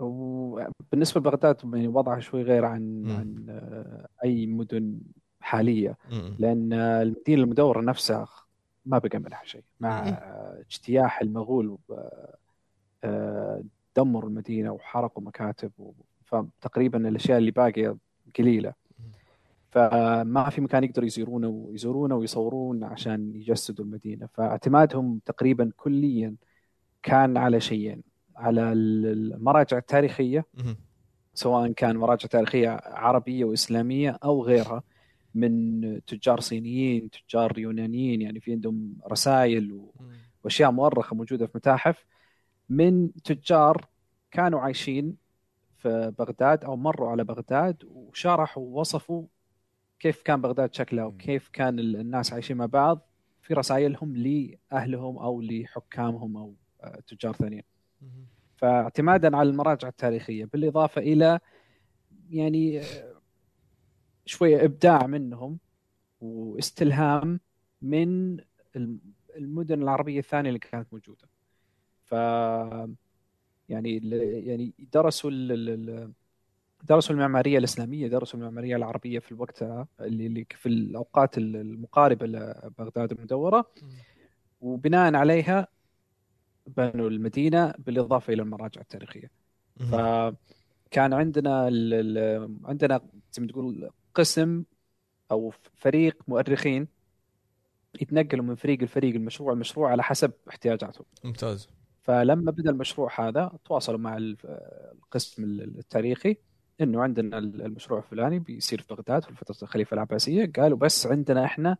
وبالنسبه لبغداد يعني وضعها شوي غير عن مم. عن آه، اي مدن حاليه م- لان المدينه المدوره نفسها ما بقى منها شيء مع مم. اجتياح المغول و- آه، دمروا المدينه وحرقوا مكاتب و- فتقريبا الاشياء اللي باقيه قليله مم. فما في مكان يقدروا يزورونه ويزورونه ويصورون عشان يجسدوا المدينه فاعتمادهم تقريبا كليا كان على شيئين على ال- المراجع التاريخيه م- سواء كان مراجع تاريخيه عربيه واسلاميه او غيرها من تجار صينيين، تجار يونانيين يعني في عندهم رسائل و- م- واشياء مؤرخه موجوده في متاحف من تجار كانوا عايشين في بغداد او مروا على بغداد وشرحوا ووصفوا كيف كان بغداد شكلها وكيف كان ال- الناس عايشين مع بعض في رسائلهم لاهلهم او لحكامهم او آه، تجار ثانيين. م- فاعتمادا على المراجع التاريخيه بالاضافه الى يعني آه، شويه ابداع منهم واستلهام من الم- المدن العربيه الثانيه اللي كانت موجوده. ف يعني ال- يعني درسوا ال- ال- ال- درسوا المعماريه الاسلاميه، درسوا المعماريه العربيه في الوقت اللي اللي في الاوقات ال- المقاربه لبغداد المدوره وبناء عليها بنوا المدينه بالاضافه الى المراجع التاريخيه. م- فكان عندنا ال ال عندنا زي ما تقول قسم او فريق مؤرخين يتنقلوا من فريق لفريق المشروع المشروع على حسب احتياجاتهم ممتاز فلما بدا المشروع هذا تواصلوا مع ال- القسم التاريخي انه عندنا المشروع الفلاني بيصير في بغداد في فتره الخليفه العباسيه قالوا بس عندنا احنا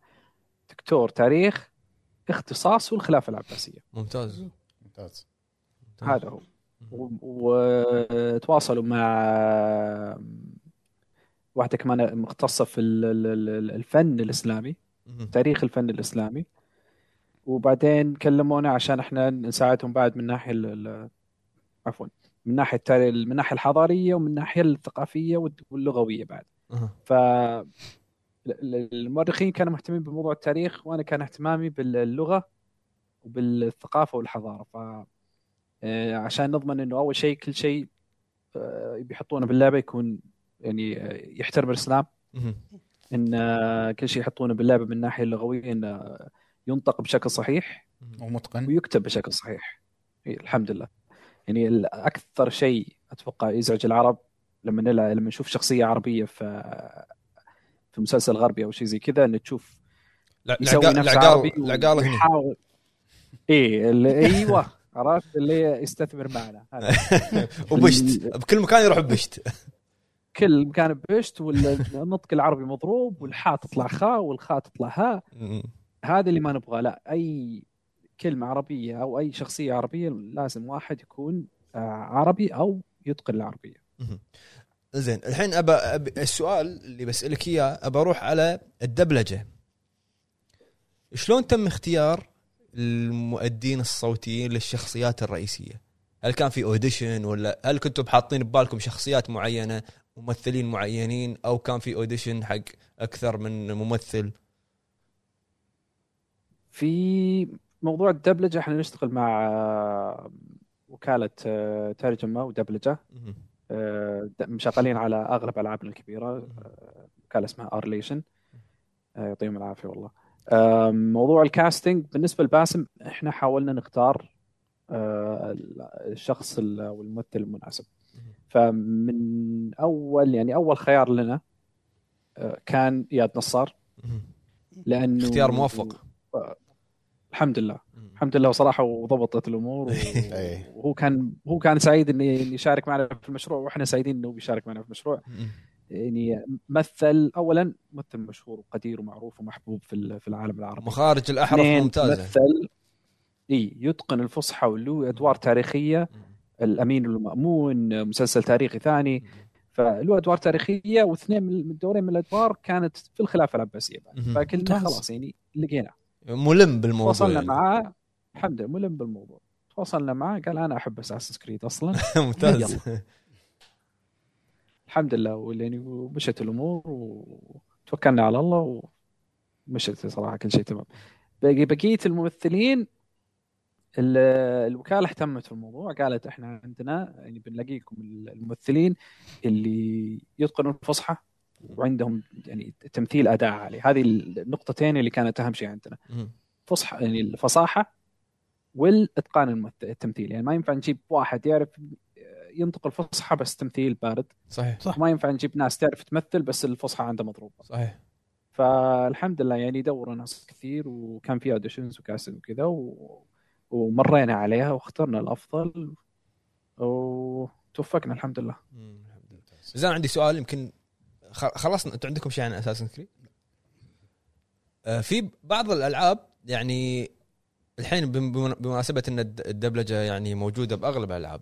دكتور تاريخ اختصاصه الخلافه العباسيه ممتاز ممتاز ممتاز. هذا هو م- و- وتواصلوا مع واحده كمان مختصه في ال- ال- ال- الفن الاسلامي م- تاريخ الفن الاسلامي وبعدين كلمونا عشان احنا نساعدهم بعد من ناحيه ال- ال- عفوا من ناحيه التاري- من الناحيه الحضاريه ومن الناحيه الثقافيه والد- واللغويه بعد أها. ف ال- ال- المؤرخين كانوا مهتمين بموضوع التاريخ وانا كان اهتمامي باللغه وبالثقافه والحضاره ف آه، عشان نضمن انه اول شيء كل شيء آه، بيحطونه باللعبه يكون يعني آه، يحترم الاسلام م- ان آه، كل شيء يحطونه باللعبه من الناحيه اللغويه انه آه، ينطق بشكل صحيح م- ومتقن ويكتب بشكل صحيح إيه، الحمد لله يعني ال- اكثر شيء اتوقع يزعج العرب لما نلعب لما نشوف شخصيه عربيه في في مسلسل غربي او شيء زي كذا ان تشوف لا- يسوي العقال- نفسه العقال- عربي العقال <laughs> هنا. ويحاول ايه اللي ايوه عرفت اللي يستثمر معنا هذا <laughs> وبشت بكل مكان يروح بشت كل مكان بشت والنطق العربي مضروب والحاء تطلع خاء والخاء تطلع هاء هذا اللي ما نبغاه لا اي كلمه عربيه او اي شخصيه عربيه لازم واحد يكون آه، عربي او يتقن العربيه زين الحين أبا أب... السؤال اللي بسالك اياه ابى اروح على الدبلجه شلون تم اختيار المؤدين الصوتيين للشخصيات الرئيسيه؟ هل كان في اوديشن ولا هل كنتم حاطين ببالكم شخصيات معينه ممثلين معينين او كان في اوديشن حق اكثر من ممثل؟ في موضوع الدبلجه احنا نشتغل مع آه، وكاله آه، ترجمه ودبلجه مهم. آه، د- شغالين على اغلب العابنا الكبيره آه، كان اسمها ارليشن يعطيهم آه، العافيه والله آم، موضوع الكاستنج بالنسبه لباسم احنا حاولنا نختار آه، الشخص ال- او الممثل المناسب فمن اول يعني اول خيار لنا آه، كان اياد نصار لانه اختيار موفق الحمد لله الحمد لله وصراحه وضبطت الامور <laughs> و- إيه. وهو كان هو كان سعيد انه يشارك معنا في المشروع واحنا سعيدين انه بيشارك معنا في المشروع يعني مثل اولا ممثل مشهور وقدير ومعروف ومحبوب في ال- في العالم العربي مخارج الاحرف اثنين ممتازه مثل اي يتقن الفصحى واللو ادوار تاريخيه الامين والمامون مسلسل تاريخي ثاني فله ادوار تاريخيه واثنين من من الدورين من الادوار كانت في الخلافه العباسيه بعد مهم. فكلنا ممتاز. خلاص يعني لقينا ملم بالموضوع تواصلنا يعني. معاه الحمد لله ملم بالموضوع تواصلنا معاه قال انا احب اساس كريد اصلا <laughs> ممتاز الحمد لله واللي ومشت الامور وتوكلنا على الله ومشت صراحه كل شيء تمام باقي بقيه الممثلين ال- الوكاله اهتمت في الموضوع قالت احنا عندنا يعني بنلاقيكم الممثلين اللي يتقنون الفصحى وعندهم يعني تمثيل اداء عالي هذه النقطتين اللي كانت اهم شيء عندنا مم. فصحى يعني الفصاحه والاتقان الممث- التمثيل يعني ما ينفع نجيب واحد يعرف ينطق الفصحى بس تمثيل بارد صحيح صح. ما ينفع نجيب ناس تعرف تمثل بس الفصحى عنده مضروبه صحيح فالحمد لله يعني دوروا ناس كثير وكان في اوديشنز وكاستنج وكذا و... ومرينا عليها واخترنا الافضل وتوفقنا الحمد لله مم. زين أنا عندي سؤال يمكن خ- خلصنا انتم عندكم شيء عن اساسن كريد؟ في بعض الالعاب يعني الحين بم- بم- بمناسبه ان الد- الدبلجه يعني موجوده باغلب الالعاب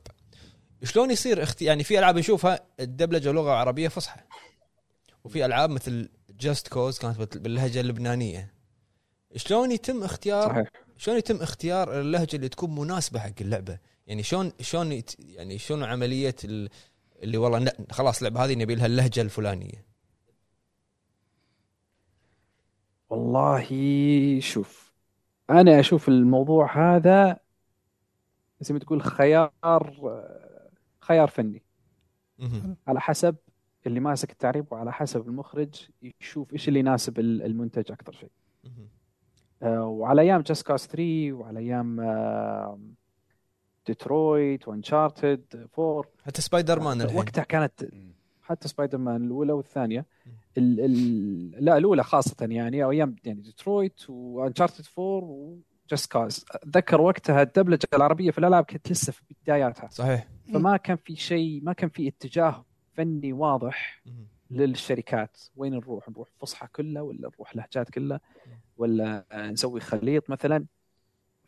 شلون يصير اختي يعني في العاب نشوفها الدبلجه لغه عربيه فصحى وفي العاب مثل جاست كوز كانت بت- باللهجه اللبنانيه شلون يتم اختيار صحيح شلون يتم اختيار اللهجه اللي تكون مناسبه حق اللعبه؟ يعني شلون شلون يت- يعني شلون عمليه ال- اللي والله ن- خلاص اللعبه هذه نبي لها اللهجه الفلانيه. والله شوف انا اشوف الموضوع هذا زي ما تقول خيار خيار فني مهم. على حسب اللي ماسك التعريب وعلى حسب المخرج يشوف ايش اللي يناسب ال- المنتج اكثر شيء مهم. آه، وعلى ايام جاست كاس 3 وعلى ايام آه، ديترويت وانشارتد 4 حتى سبايدر مان الحين وقتها كانت حتى سبايدر مان الاولى والثانيه ال ال لا الاولى خاصه يعني او ايام يعني ديترويت وانشارتد 4 وجاست كاز اتذكر وقتها الدبلجه العربيه في الالعاب كانت لسه في بداياتها صحيح فما كان في شيء ما كان في اتجاه فني واضح مهم. للشركات وين نروح نروح فصحى كلها ولا نروح لهجات كلها ولا نسوي خليط مثلا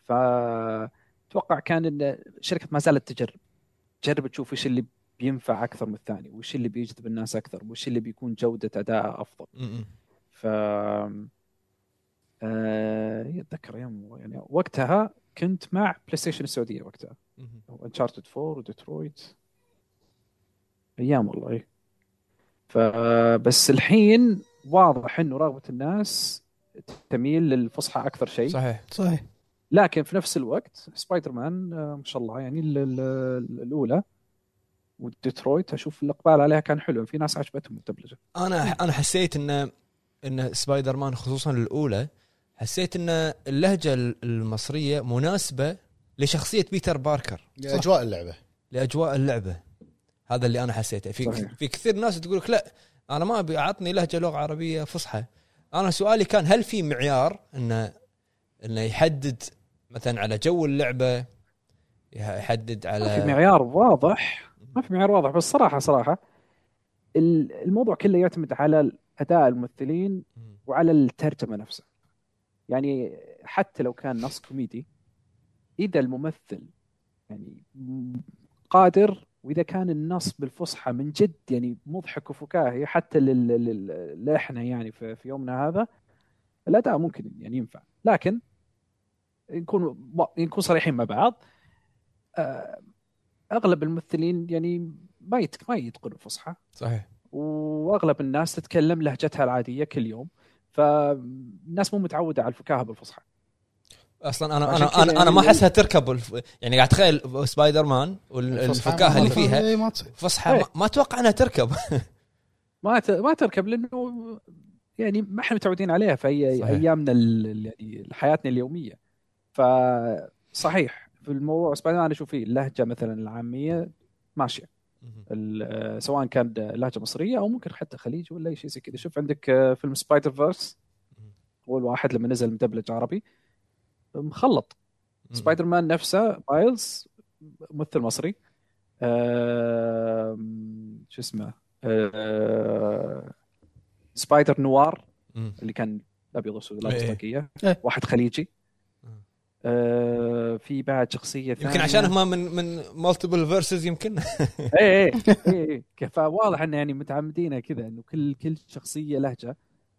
فتوقع كان ان الشركه ما زالت تجرب تجرب تشوف ايش اللي بينفع اكثر من الثاني وايش اللي بيجذب الناس اكثر وايش اللي بيكون جوده اداء افضل مهم. ف آه، اتذكر يوم يعني وقتها كنت مع بلاي ستيشن السعوديه وقتها مهم. وانشارتد 4 وديترويت ايام والله إيه. فبس الحين واضح انه رغبه الناس تميل للفصحى اكثر شيء صحيح صحيح لكن في نفس الوقت سبايدر مان آه، ما شاء الله يعني ال- ال- الاولى وديترويت اشوف الاقبال عليها كان حلو في ناس عجبتهم الدبلجه انا انا حسيت ان ان سبايدر مان خصوصا الاولى حسيت ان اللهجه المصريه مناسبه لشخصيه بيتر باركر اجواء اللعبه لاجواء اللعبه هذا اللي انا حسيته في صحيح. في كثير ناس تقول لك لا انا ما ابي اعطني لهجه لغه عربيه فصحى انا سؤالي كان هل في معيار انه انه يحدد مثلا على جو اللعبه يحدد ما في على معيار واضح ما في معيار واضح بس صراحه صراحه ال- الموضوع كله يعتمد على اداء الممثلين وعلى الترجمه نفسها يعني حتى لو كان نص كوميدي اذا الممثل يعني م- قادر واذا كان النص بالفصحى من جد يعني مضحك وفكاهي حتى لل- لل- لل- احنا يعني في في يومنا هذا الاداء ممكن يعني ينفع لكن نكون نكون صريحين مع بعض آه، اغلب الممثلين يعني ما يتق- ما يتقنوا الفصحى صحيح واغلب الناس تتكلم لهجتها العاديه كل يوم فالناس مو متعوده على الفكاهه بالفصحى اصلا انا عشان انا كذا انا, أنا يعني- ما احسها تركب الف... يعني قاعد اتخيل سبايدر مان الفصحى والفكاهه اللي ما- فيها إيه، ما تصير فصحى ما- ما اتوقع انها تركب <laughs> ما ت... ما تركب لانه يعني ما احنا متعودين عليها في أي... صحيح. ايامنا ال... ال- يعني حياتنا اليوميه فصحيح في الموضوع بس بعدين انا اشوف فيه اللهجه مثلا العاميه ماشيه مهم. ال- آه، سواء كان لهجه مصريه او ممكن حتى خليجي ولا اي شيء زي كذا شوف عندك آه، فيلم سبايدر فيرس مهم. اول واحد لما نزل مدبلج عربي مخلط سبايدر مان نفسه مايلز ممثل مصري آم، شو اسمه آه، سبايدر نوار مهم. اللي كان ابيض واسود إيه. لابس طاقيه إيه. واحد خليجي مم. آه، في بعد شخصيه ثانيه يمكن <laughs> عشان هم من من مالتيبل فيرسز يمكن اي اي اي إي. فواضح انه يعني متعمدين كذا انه كل كل شخصيه لهجه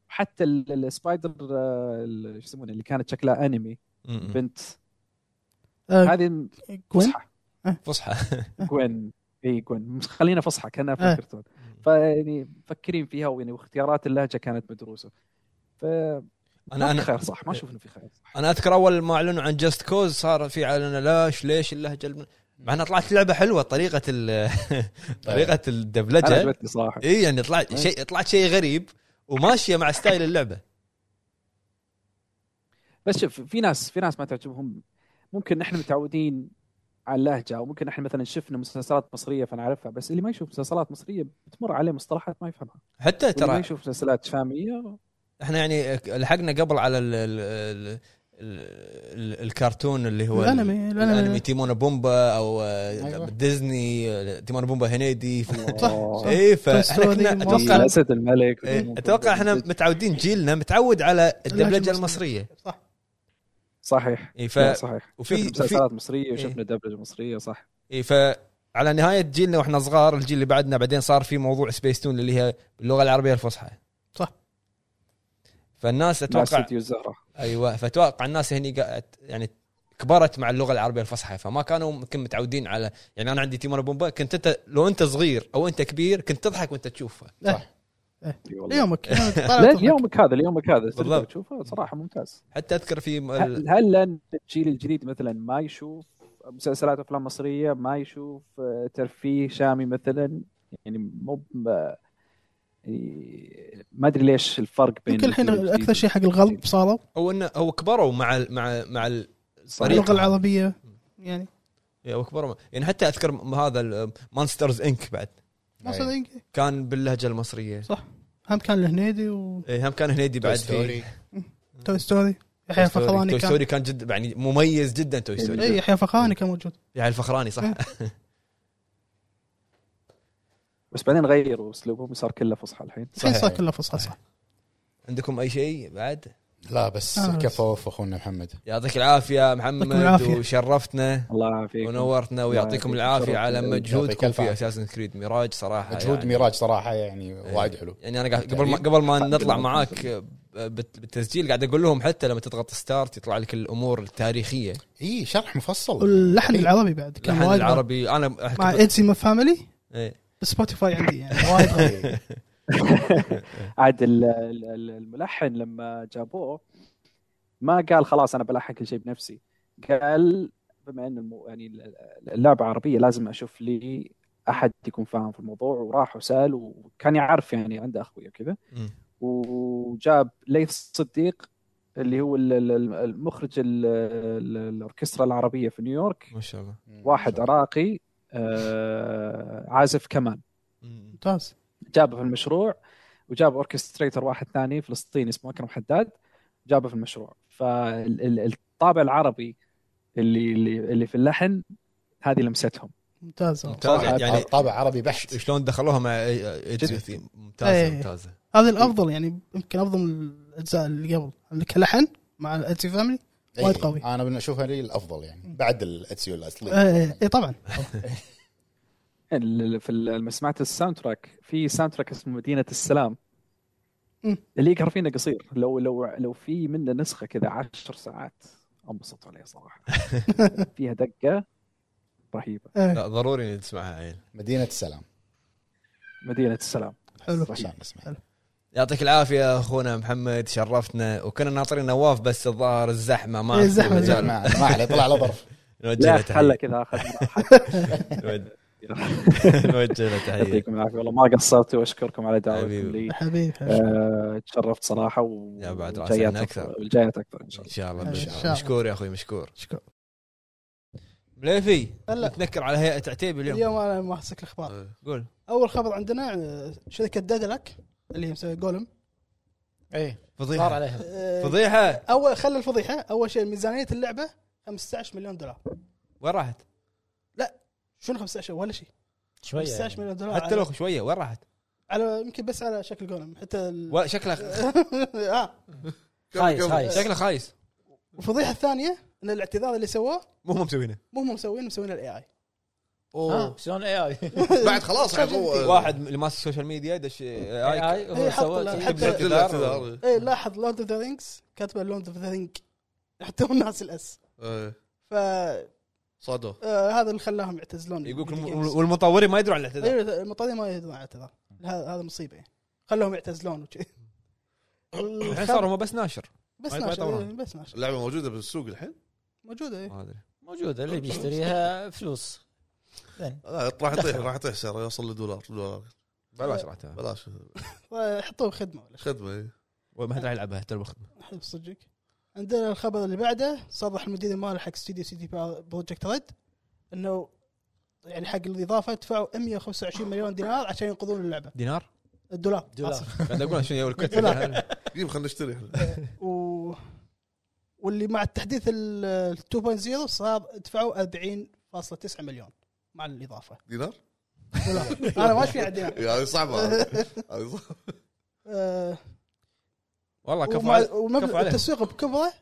حتى ال- ال- السبايدر آه، ال- شو يسمونه اللي كانت شكلها انمي مهم. بنت آه، هذه كوين فصحى فصحى جوين اي جوين خلينا فصحى كانها في إيه. الكرتون فيعني مفكرين فيها ويعني واختيارات اللهجه كانت مدروسه ف انا ما في انا خير صح ما اشوف انه في خير صح انا اذكر اول ما اعلنوا عن جاست كوز صار في اعلان ليش ليش اللهجه الم- مع انها طلعت لعبه حلوه طريقه ال- <laughs> طريقه انا الدبلجه عجبتني صراحه اي يعني طلعت شيء طلعت شيء غريب وماشيه مع ستايل اللعبه بس شوف في ناس في ناس ما تعجبهم ممكن نحن متعودين على اللهجه او ممكن احنا مثلا شفنا مسلسلات مصريه فنعرفها بس اللي ما يشوف مسلسلات مصريه بتمر عليه مصطلحات ما يفهمها حتى واللي ما ترى يشوف مسلسلات شاميه احنا يعني لحقنا قبل على ال ال ال ال الكرتون اللي هو الانمي الانمي الانمي تيمون بومبا او أيوة. ديزني تيمون بومبا هنيدي صح. الله. اي فاحنا توي ستوري، كنا- اتوقع مواصلات. اسد آه، الملك إيه، اتوقع احنا متعودين جيلنا متعود على الدبلجه المصريه صح صحيح اي إيه، ف لا، صحيح وفي- وفي مسلسلات مصريه إيه. وشفنا دبلجه مصريه صح اي فعلى نهايه جيلنا واحنا صغار الجيل اللي بعدنا بعدين صار في موضوع سبيس تون اللي هي اللغه العربيه الفصحى صح. فالناس مع اتوقع استديو الزهره ايوه فاتوقع الناس هني قاعد يعني كبرت مع اللغه العربيه الفصحى فما كانوا يمكن متعودين على يعني انا عندي تيمون بومبا كنت انت لو انت صغير او انت كبير كنت تضحك وانت تشوفه إي <laughs> والله. ليومك أنا طالع لا أضحك. يومك هذا اليومك هذا تقدر بالضبط. تشوفه صراحه ممتاز حتى اذكر في م- ال- هل هل لان الجيل الجديد مثلا ما يشوف مسلسلات افلام مصريه ما يشوف آه، ترفيه شامي مثلا يعني مو ب- آه، ما ادري ليش الفرق بين يمكن الحين الجيل اكثر شيء حق الغلب صاروا هو انه هو كبروا مع ال- مع مع ال- طريقة. أيوة. اللغه العربيه يعني هو كبروا مع- يعني حتى اذكر م- هذا مانسترز انك بعد ما صار إنجلي. كان باللهجه المصريه هم كان الهنيدي وتوي إيه، هم كان هنيدي بعد في ستوري يحيى الفخراني توي إيه، كان ستوري كان جد يعني مميز جدا توي ستوري اي يحيى الفخراني كان موجود يعني الفخراني صح إيه. بس بعدين غيروا اسلوبهم وصار كله فصحى الحين الحين صار صحيح. كله فصحى صح عندكم اي شيء بعد لا بس آه، بس. كفى وف اخونا محمد يعطيك العافيه يعطيكم محمد العافية. وشرفتنا الله يعافيك ونورتنا ويعطيكم يعافيك. العافيه شرف على لي. يعطيك مجهودكم الف في عافية. اساسن كريد ميراج صراحه مجهود يعني. ميراج صراحه يعني وايد حلو يعني انا قاعد قبل ما قبل ما نطلع معاك بت- بالتسجيل قاعد اقول لهم حتى لما تضغط ستارت يطلع لك الامور التاريخيه اي شرح مفصل واللحن <laughs> العربي بعد كان اللحن وايد العربي انا مع كنت- ايدسي فاميلي إيه. سبوتيفاي عندي يعني <laughs> وايد غريب عاد ال- ال- ال- الملحن لما جابوه ما قال خلاص انا بلحن كل شيء بنفسي قال بما ان المو... يعني ال- اللعبه عربيه لازم اشوف لي احد يكون فاهم في الموضوع وراح وسال وكان يعرف يعني عنده اخويا وكذا <laughs> مم. وجاب ليث الصديق اللي هو ال- ال- المخرج ال- ال- الاوركسترا العربيه في نيويورك ما شاء الله واحد عراقي آه، عازف كمان مم. ممتاز جابه في المشروع وجاب اوركستريتر واحد ثاني فلسطيني اسمه اكرم حداد جابه في المشروع فالطابع العربي اللي اللي اللي في اللحن هذه لمستهم ممتاز والله. ممتاز يعني طابع عربي بحت شلون دخلوها مع ايدزي جد. ممتازه إيه. ممتازه هذا الافضل يعني يمكن افضل من الاجزاء اللي قبل اللي كلحن مع ايدسي فاميلي إي، وايد قوي. آه. انا اشوفها لي الافضل يعني بعد الاتسيو إيه، الاصلي اي طبعا ال- ال- في ال- لما سمعت الساوند تراك في ساوند تراك اسمه مدينه السلام مم. اللي يقهر فينا قصير لو لو لو في منه نسخه كذا عشر ساعات انبسط عليه صراحه فيها دقه رهيبه إيه، لا ضروري نسمعها عيل مدينه السلام مدينه السلام حلو عشان نسمع يعطيك العافيه اخونا محمد شرفتنا وكنا ناطرين نواف بس الظاهر الزحمه ما إيه، الزحمة، مجال. الزحمة. ما ما عليه طلع على ظرف نوجه لا له حلا تحيه كذا اخذ نوجه- نوجه له تحيه يعطيكم العافيه والله ما قصرت واشكركم على دعوتكم حبيبي. لي حبيبي حبيبي. آه، تشرفت صراحه و يا بعد راسنا والجايات أكثر. والجايات اكثر ان شاء الله ان شاء الله إن بإذن شاء الله. الله. مشكور يا اخوي مشكور شكرا بليفي هلا. نتنكر على هيئه عتيبي اليوم اليوم انا ماسك الاخبار إيه. قول اول خبر عندنا آه، شركه ديدلك اللي هي مسويه جولم اي إيه. طيب. صار فضيحه عليها آه، فضيحه اول خلي الفضيحه اول شيء ميزانيه اللعبه 15 مليون دولار وين راحت؟ شنو 15 ولا شيء شويه 15 مليون دولار يعني. حتى على- لو شويه وين راحت؟ على يمكن بس على شكل جولم حتى ال... و- شكله <laughs> آه. كمل- خايس، كمل. خايس. شكله <laughs> خايس والفضيحه الثانيه ان الاعتذار اللي سووه مو هم <laughs> مسوينه مو هم مسوينه مسوينه الاي اي ها، شلون إيه اي اي <laughs> بعد خلاص يعني هو واحد اللي ماسك السوشيال ميديا دش آه، اي هو هي إيه، حط إيه سوى لها- شيء. حط لها- اعتذار. اعتذار. اي لاحظ لورد اوف ذا رينجز كاتبه لورد اوف ذا رينج حتى هم ناس الاس إيه. فهذا صادوه آه، اللي خلاهم يعتزلون يقولك الفيديو الم- جيمز. والمطورين ما يدرون على الاعتذار ايوه المطاري ما يدرون على الاعتذار هذا هذا مصيبه يعني خلوهم يعتزلون وشي إيه، الحين صاروا هم بس ناشر بس ما يبغى ناشر يطورون. إيه، بس ناشر اللعبه موجوده بالسوق الحين موجوده إيه. ما ادري <laughs> موجوده اللي بيشتريها فلوس زين لا، راح <laughs> يطيح راح يطيح سعره يوصل لدولار دولار بلاش راحتها بلاش حطوه خدمه ولا شيء خدمه إيه. ما حد راح يلعبها حتى لو بخدمه حلو صدقك عندنا الخبر اللي بعده صرح المدير المالي حق استوديو سيتي بروجكت ريد انه يعني حق الاضافه دفعوا 125 مليون دينار عشان ينقذون اللعبه دينار الدولار دولار. آسف. <laughs> قاعد اقول شنو يا الكت جيب خلينا نشتري احنا و... واللي مع التحديث ال 2.0 صار دفعوا 40.9 مليون <laughs> مع الاضافه دينار دولار. انا ما يعني. في عندي إيه، هذه صعبه هذه صعبة. آه، والله كفو ومع- على- كفو ومبلغ عليهم. التسويق بكبره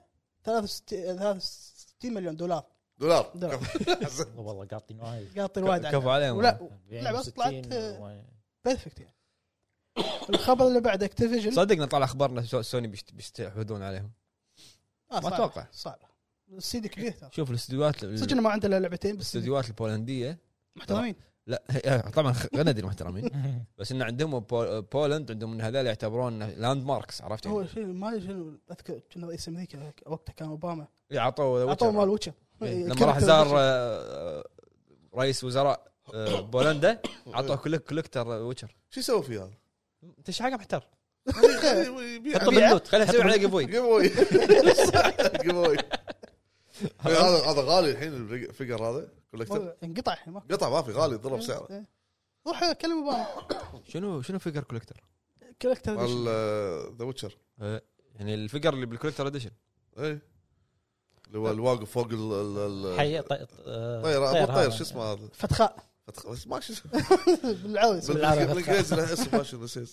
63 63 مليون دولار دولار دولار. والله قاطين وايد قاطي الواد كفو على عليهم ولا اللعبة لعبه طلعت، <laughs> بيرفكت يعني الخبر اللي بعد اكتيفيجن صدقنا طلع اخبارنا سو- سوني بيشت- بيستحوذون عليهم آه، ما صعب- أتوقع. صعب السيدي كبير ترى شوف الاستديوهات صدق انه ما عندنا إلا لعبتين بس الاستديوهات <laughs> البولنديه محترمين لا هي- طبعا خ- غندر محترمين بس ان عندهم بول- بولند عندهم ان هذول يعتبرون لاند ماركس عرفت هو يعني شيء ما أدري شنو اذكر كنا رئيس امريكا وقتها كان اوباما اعطوا اعطوه مال إيه، ويتشر إيه، لما راح زار آه، رئيس وزراء آه، بولندا <coughs> اعطوه كلك كولكتر ويتشر شو يسوي فيه هذا؟ انت ايش حاجه محتار يعني <laughs> يبيع- حطه باللوت خليه يسوي عليه قبوي جيب أواي. جيب أواي. إيه، هذا هذا غالي الحين الفقر هذا آه، كولكتر انقطع الحين ما قطع ما في غالي ضرب سعره إيه. روح كلم اوباما شنو شنو فيجر كولكتر؟ كولكتر مال <laughs> آه، إديشن. ذا ويتشر يعني الفيجر اللي بالكولكتر اديشن اي إيه. اللي هو الواقف فوق ال- ال- ال- حي طي- آه، طير ابو الطير هذا. شو اسمه هذا؟ <laughs> فتخاء فتخ- بس ما شو اسمه بالعوز بالعربي فتخ. بالانجليزي له اسم ما شو نسيت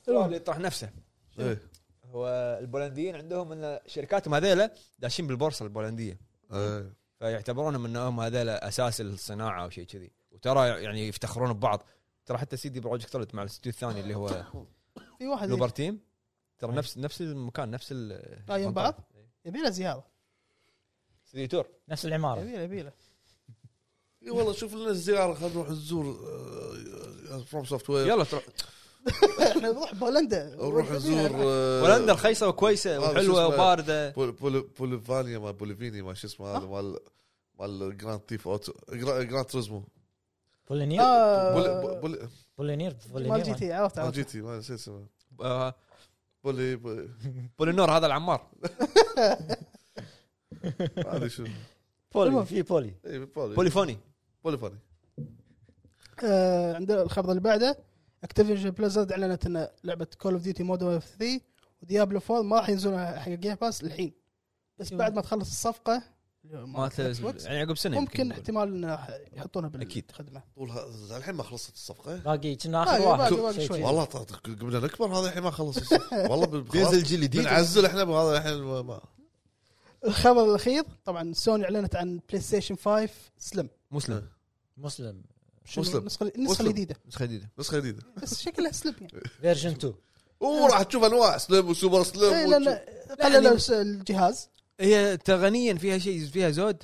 السؤال اللي يطرح نفسه ايه إيه. هو البولنديين عندهم ان شركاتهم هذيلا داشين بالبورصه البولنديه ايه فيعتبرونهم انهم هذيلا اساس الصناعه او شيء كذي وترى يعني يفتخرون ببعض ترى حتى سيدي بروجكت ريد مع الاستوديو الثاني اللي هو في واحد لوبر تيم ترى نفس نفس المكان نفس ال لا، يم بعض؟ يبي له زياره استوديو تور نفس آه. العماره يبي له يبي له <laughs> اي والله شوف لنا زياره خلينا نروح آه، نزور فروم سوفت وير يلا تروح احنا نروح بولندا نروح نزور آه، بولندا رخيصه وكويسه آه، شو وحلوه اسمه؟ وبارده بول- بول- بوليفانيا ما بوليفيني ما شو اسمه هذا مال مال جراند تيف اوتو جرا- جراند توريزمو بولينير بول- اه بول- بول- بولينير مال جي بولينير تي عرفت ما عرفت آه، جي تي ما نسيت اسمه آه، بولي بولي- بولينور هذا العمار ما ادري شو بولي في بولي اي بولي بوليفوني بوليفاني آه، عندنا الخبر اللي بعده اكتيفيجن بليزرد اعلنت ان لعبه كول اوف ديوتي مودرن 3 وديابلو 4 ما راح ينزلونها حق جيم باس الحين بس أيوة. بعد ما تخلص الصفقه ما مالت تلز- Xbox، يعني عقب سنه ممكن يمكن. احتمال ان راح يحطونها أكيد. بالخدمه طولها الحين ما خلصت الصفقه باقي كنا اخر باقي- واحد باقي- باقي شيء شوي. كذي. والله ط- ط- قمنا نكبر هذا الحين ما خلص الصفقة. <laughs> والله بال- خلاص. بينزل جيل جديد بنعزل احنا بهذا الحين ما- ما- الخبر الاخير طبعا سوني اعلنت عن بلاي ستيشن 5 سلم مسلم مسلم شنو مسلم. النسخه النسخه مسلم. الجديده نسخه جديده نسخه جديده بس شكلها سلم يعني فيرجن 2 وراح تشوف انواع سليم وسوبر إيه، طيب، سليم لان وتشوف- قللوا الجهاز هي تغنيا فيها شيء فيها زود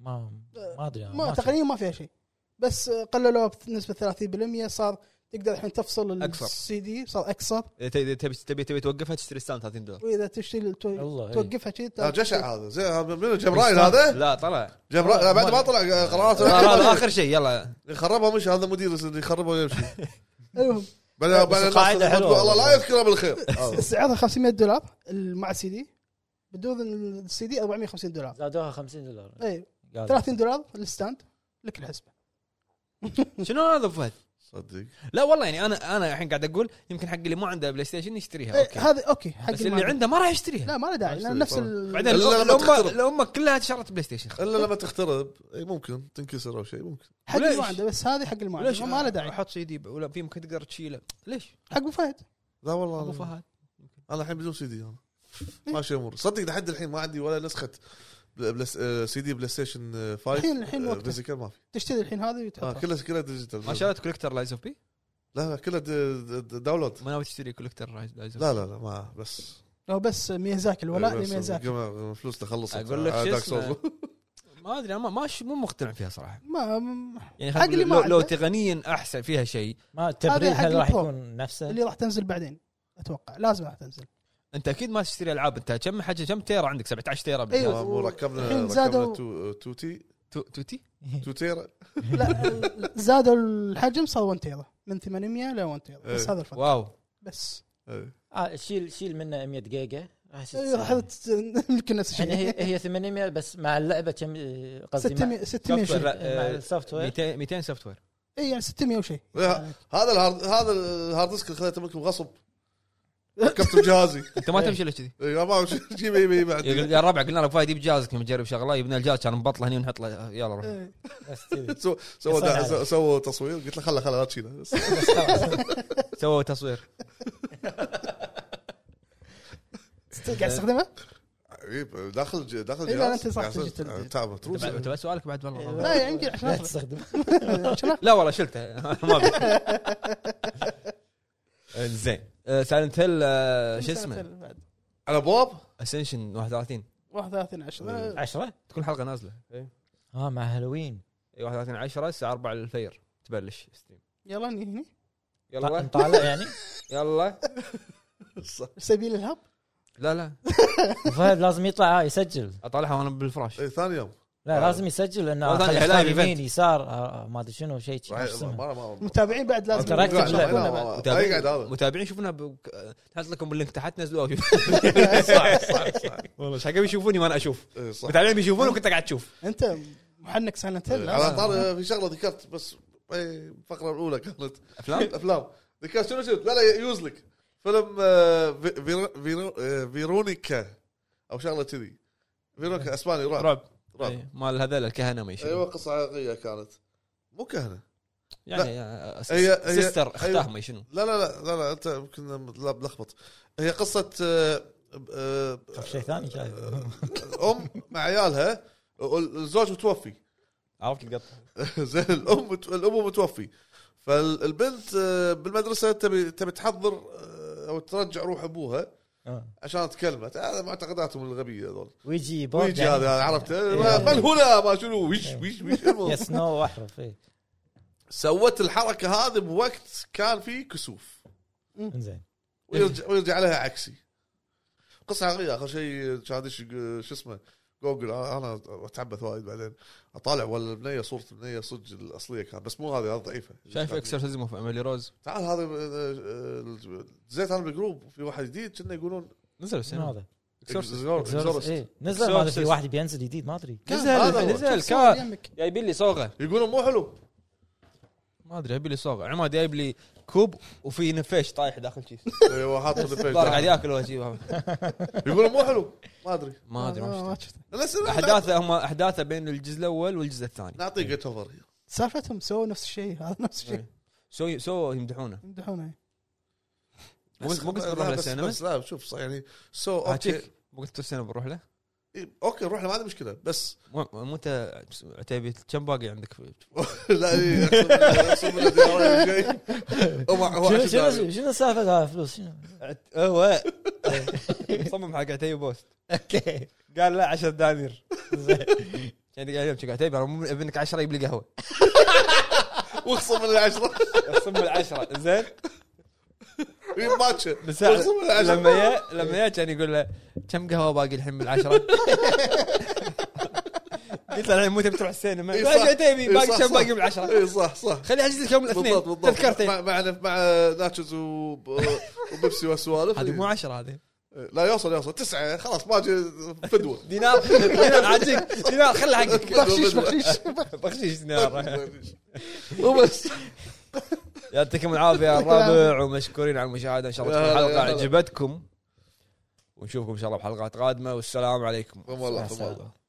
ما ما ادري أنا، ما شفت. تقنيا ما فيها شيء بس قللوها بنسبه 30% صار تقدر الحين تفصل أقصر. السي دي صار اكثر إذا إيه، تبي تبي تبي, تبي توقفها تشتري ستاند 30 دولار واذا تشتري التو- والله إيه. توقفها شيء آه، جشع هذا زين هذا منو جبرايل هذا لا طلع <laughs> جبرايل لا، بعد ما طلع آه، قراراته لا، لا، لا، اخر شيء يلا يخربها مش هذا مدير اللي يخربها ويمشي المهم بعدين بس بعدين القاعدة الناس حلوة تقول الله لا والله. يذكره بالخير آه. سعرها 500 دولار مع السي دي بدون السي دي 450 دولار زادوها 50 دولار اي قال 30 إيه، دولار الستاند لك الحسبه شنو هذا أبو فهد؟ صدق لا والله يعني انا انا الحين قاعد اقول يمكن حق اللي ما عنده بلاي ستيشن يشتريها إيه، اوكي هذا اوكي حق بس اللي عنده ما راح يشتريها لا ما له داعي ما لان يشتري نفس طبعاً. ال- بعدين إلا لما الامه تخترب. الامه كلها شرت بلاي ستيشن الا لما تخترب اي ممكن تنكسر او شيء ممكن حق اللي وليش؟ ما عنده بس هذه حق اللي ما عنده ما له داعي احط سي دي ولا في ممكن تقدر تشيله ليش؟ حق ابو فهد لا والله ابو أنا- فهد انا الحين بدون سي دي انا ماشي امور صدق لحد الحين ما عندي ولا نسخه بل- بلس- آه، سي دي بلاي ستيشن آه، 5 الحين- الحين آه، وقته. فيزيكال ما في تشتري الحين هذه آه، وتحطها كلها كلها ديجيتال ما شريت كوليكتر لايز اوف بي؟ لا لا كلها د- د- د- داونلود ما ناوي تشتري كوليكتر لايز اوف بي لا لا لا ما بس لو بس ميازاكي الولاء إيه، بس لميازاكي قم- فلوس تخلص أقول لك آه، شو Dark اسمه. Souls. ما ادري انا ما- ما مو مقتنع فيها صراحه ما يعني حق اللي خلينا ما نقول لو, لو عنده. تقنيا احسن فيها شيء ما هذا التبرير حق هل راح البرو. يكون نفسه؟ اللي راح تنزل بعدين اتوقع لازم راح تنزل انت اكيد ما تشتري العاب انت كم حاجه كم تيرا عندك 17 تيرا أيوة. بالجهاز. آه، مو ركبنا الحين ركبنا زادوا- تو- تو تي تو- توتي تو تيرا لا <laughs> ال- زادوا الحجم صار 1 تيرا من 800 ل 1 تيرا بس إيه. هذا الفرق واو بس إيه. <laughs> آه شيل شيل منه 100 جيجا راح يصير إيه، راح تت- يمكن نفس يعني هي الشيء <laughs> هي 800 بس مع اللعبه كم آه، قصدي مع- 600 600 software. وشيء مع <laughs> السوفت وير 200 200 سوفت وير اي يعني 600 وشيء <laughs> آه، هذا الهارد هذا الهارد ديسك اللي خليته منكم غصب ركبته بجهازي انت ما تمشي الا كذي إيه، أنا ما أعرف شو- جيبه يبي بعد يا الربع قلنا لك فايد يجيب جهازك نجرب شغله يبنى الجهاز كان مبطله هني ونحط له يلا روح إيه. بس كذي. سو- سووا يصنع دا- عليه. سو- سووا تصوير قلت له خله خله لا تشيله بس. بس <laughs> خلاص. سووا تصوير قاعد <laughs> تستخدمه؟ عيب، داخل ج- داخل إيه، لا، جهاز أنت صح، قاعد يصير- تجي تلبي. تعب تروس انت بس سؤالك بعد والله لا يعني يمكن عشان لا أخذه. تستخدم عشان أخذه. لا والله شلته <laughs> ما <laughs> أبي. زين آه، سايلنت هيل آه، شو اسمه سنتين بعد. على بواب اسنشن 31 31 10 إيه. 10 تكون إيه، حلقه نازله إيه. اه مع هالوين اي 31 10 الساعه 4 الفير تبلش ستريم يلا إني هني يلا <laughs> نطالع يعني يلا سبيل الهب لا لا فهد لازم يطلع آه، يسجل اطالعها وانا بالفراش إيه، ثاني يوم لا آه. لازم يسجل لانه والله خلي- إعلان خلي إيفنت. يمين يسار آه، آه، ما ادري شنو شيء شيء راح- شو اسمه. ما- ما- ما- المتابعين بعد لازم أنت راكب لا، لا، لعبة. لا، ما- ما- ما يقعد هذا متابعين شوفونا بك... نحط لكم باللينك تحت <laughs> نزلوها صح صح صح والله ايش حق يشوفوني وانا اشوف إيه، صح متابعين بيشوفوني وكنت قاعد تشوف انت محنك سايلنت هيل إيه، على طار في شغله ذكرت بس إيه، الفقره الاولى كانت <laughs> افلام افلام ذكرت شنو شنو لا لا يوز لك فيلم آه، في- فيرو- فيرو- آه، فيرونيكا او شغله كذي فيرونيكا اسباني رعب رعب رعب إيه، مال هذول الكهنه ما ايوه يشوف قصه حقيقيه كانت مو كهنه يعني لا. يا- هي- هي- سيستر اختاه أيوة. ما شنو لا لا لا لا, لا انت يمكن لا ملخبط هي قصه آه، آه، طب شيء ثاني شايف ام مع عيالها والزوج متوفي عرفت القطه <laughs> زين الام مت- الابو متوفي فالبنت آه، بالمدرسه تبي تبي تحضر آه، او ترجع روح ابوها آه. عشان تكلمت هذا معتقداتهم الغبيه هذول ويجي بورد ويجي يعني. هذا عرفت إيه. ما- من هنا ما شنو وش وش وش المهم. يس نو واحرف اي سوت الحركه هذه بوقت كان فيه كسوف زين ويرجع ويرجع لها عكسي قصه حقيقيه اخر شيء كان دش شو اسمه جوجل آه، انا اتعبث وايد بعدين اطالع ولا البنيه صوره البنيه صدق الاصليه كانت بس مو هذه هذه ضعيفه شايف اكسرسيزم اوف ايميلي روز تعال هذا آه، آه، زيت انا بالجروب في واحد جديد كنا يقولون نزل نعم. شنو السينما هذا؟ Exorcist. Exorcist. إيه. نزل Exorcist. ما ادري في واحد بينزل جديد ما ادري هذا هو. نزل نزل صار كا- يمك جايبين لي صوغه يقولون مو حلو <laughs> ما ادري جايبين لي صوغه عماد جايب لي كوب وفي نفيش طايح داخل <laughs> شيء ايوه <laughs> حاط الفيس. الظاهر قاعد ياكل وجهي يقولون مو حلو ما ادري ما ادري ما شفته. آه، ما شفته بس احداثه هم احداثه بين الجزء الاول والجزء الثاني نعطيه جيت اوفر سالفتهم سووا نفس الشيء هذا نفس الشيء إيه. سو سو يمدحونه يمدحونه مو بس- مو قلت بنروح لا، بس- للسينما؟ بس لا شوف صح، يعني سو اوكي هاتشيك آه، مو قلت السينما بنروح له إيه، اوكي نروح له ما عندي مشكله بس <laughs> مو مو انت عتيبي كم باقي عندك في- لا إيه، أقسم بالله- أقسم بالله دينارين وشي. هو- هو شنو عشان شنو شنو السالفه هذا فلوس شنو عت- <laughs> هو مصمم حق عتيبي بوست اوكي قال لا 10 <laughs> دنانير يعني قال يمشي عتيبي انا مو من ابنك 10 يجيب لي <laughs> قهوه واخصم من العشرة اقسم بالعشره زين إيه، ماتشة بس واخصم من لما العشرة يا لما يا كان يقول له كم قهوه باقي الحين بالعشره <laughs> قلت له الحين مو تبي تروح <laughs> السينما "إيه، إي قال صح. عتيبي إي باقي صح، كم صح. باقي بالعشره اي صح صح خلي اجلس لك يوم الاثنين بالضبط بالضبط تذكرتين مع مع, مع ناتشز وب- وبيبسي والسوالف إيه. هذه مو عشره هذه لا يوصل يوصل تسعه خلاص باجي فدوه دينار <laughs> دينار عاجيك دينار خله حقك بخشيش بخشيش بخشيش دينار مو بس يعطيكم العافيه يا الربع ومشكورين على المشاهده ان شاء الله تكون يا هلا، الحلقه يا هلا. عجبتكم ونشوفكم ان شاء الله بحلقات قادمه والسلام عليكم والله والله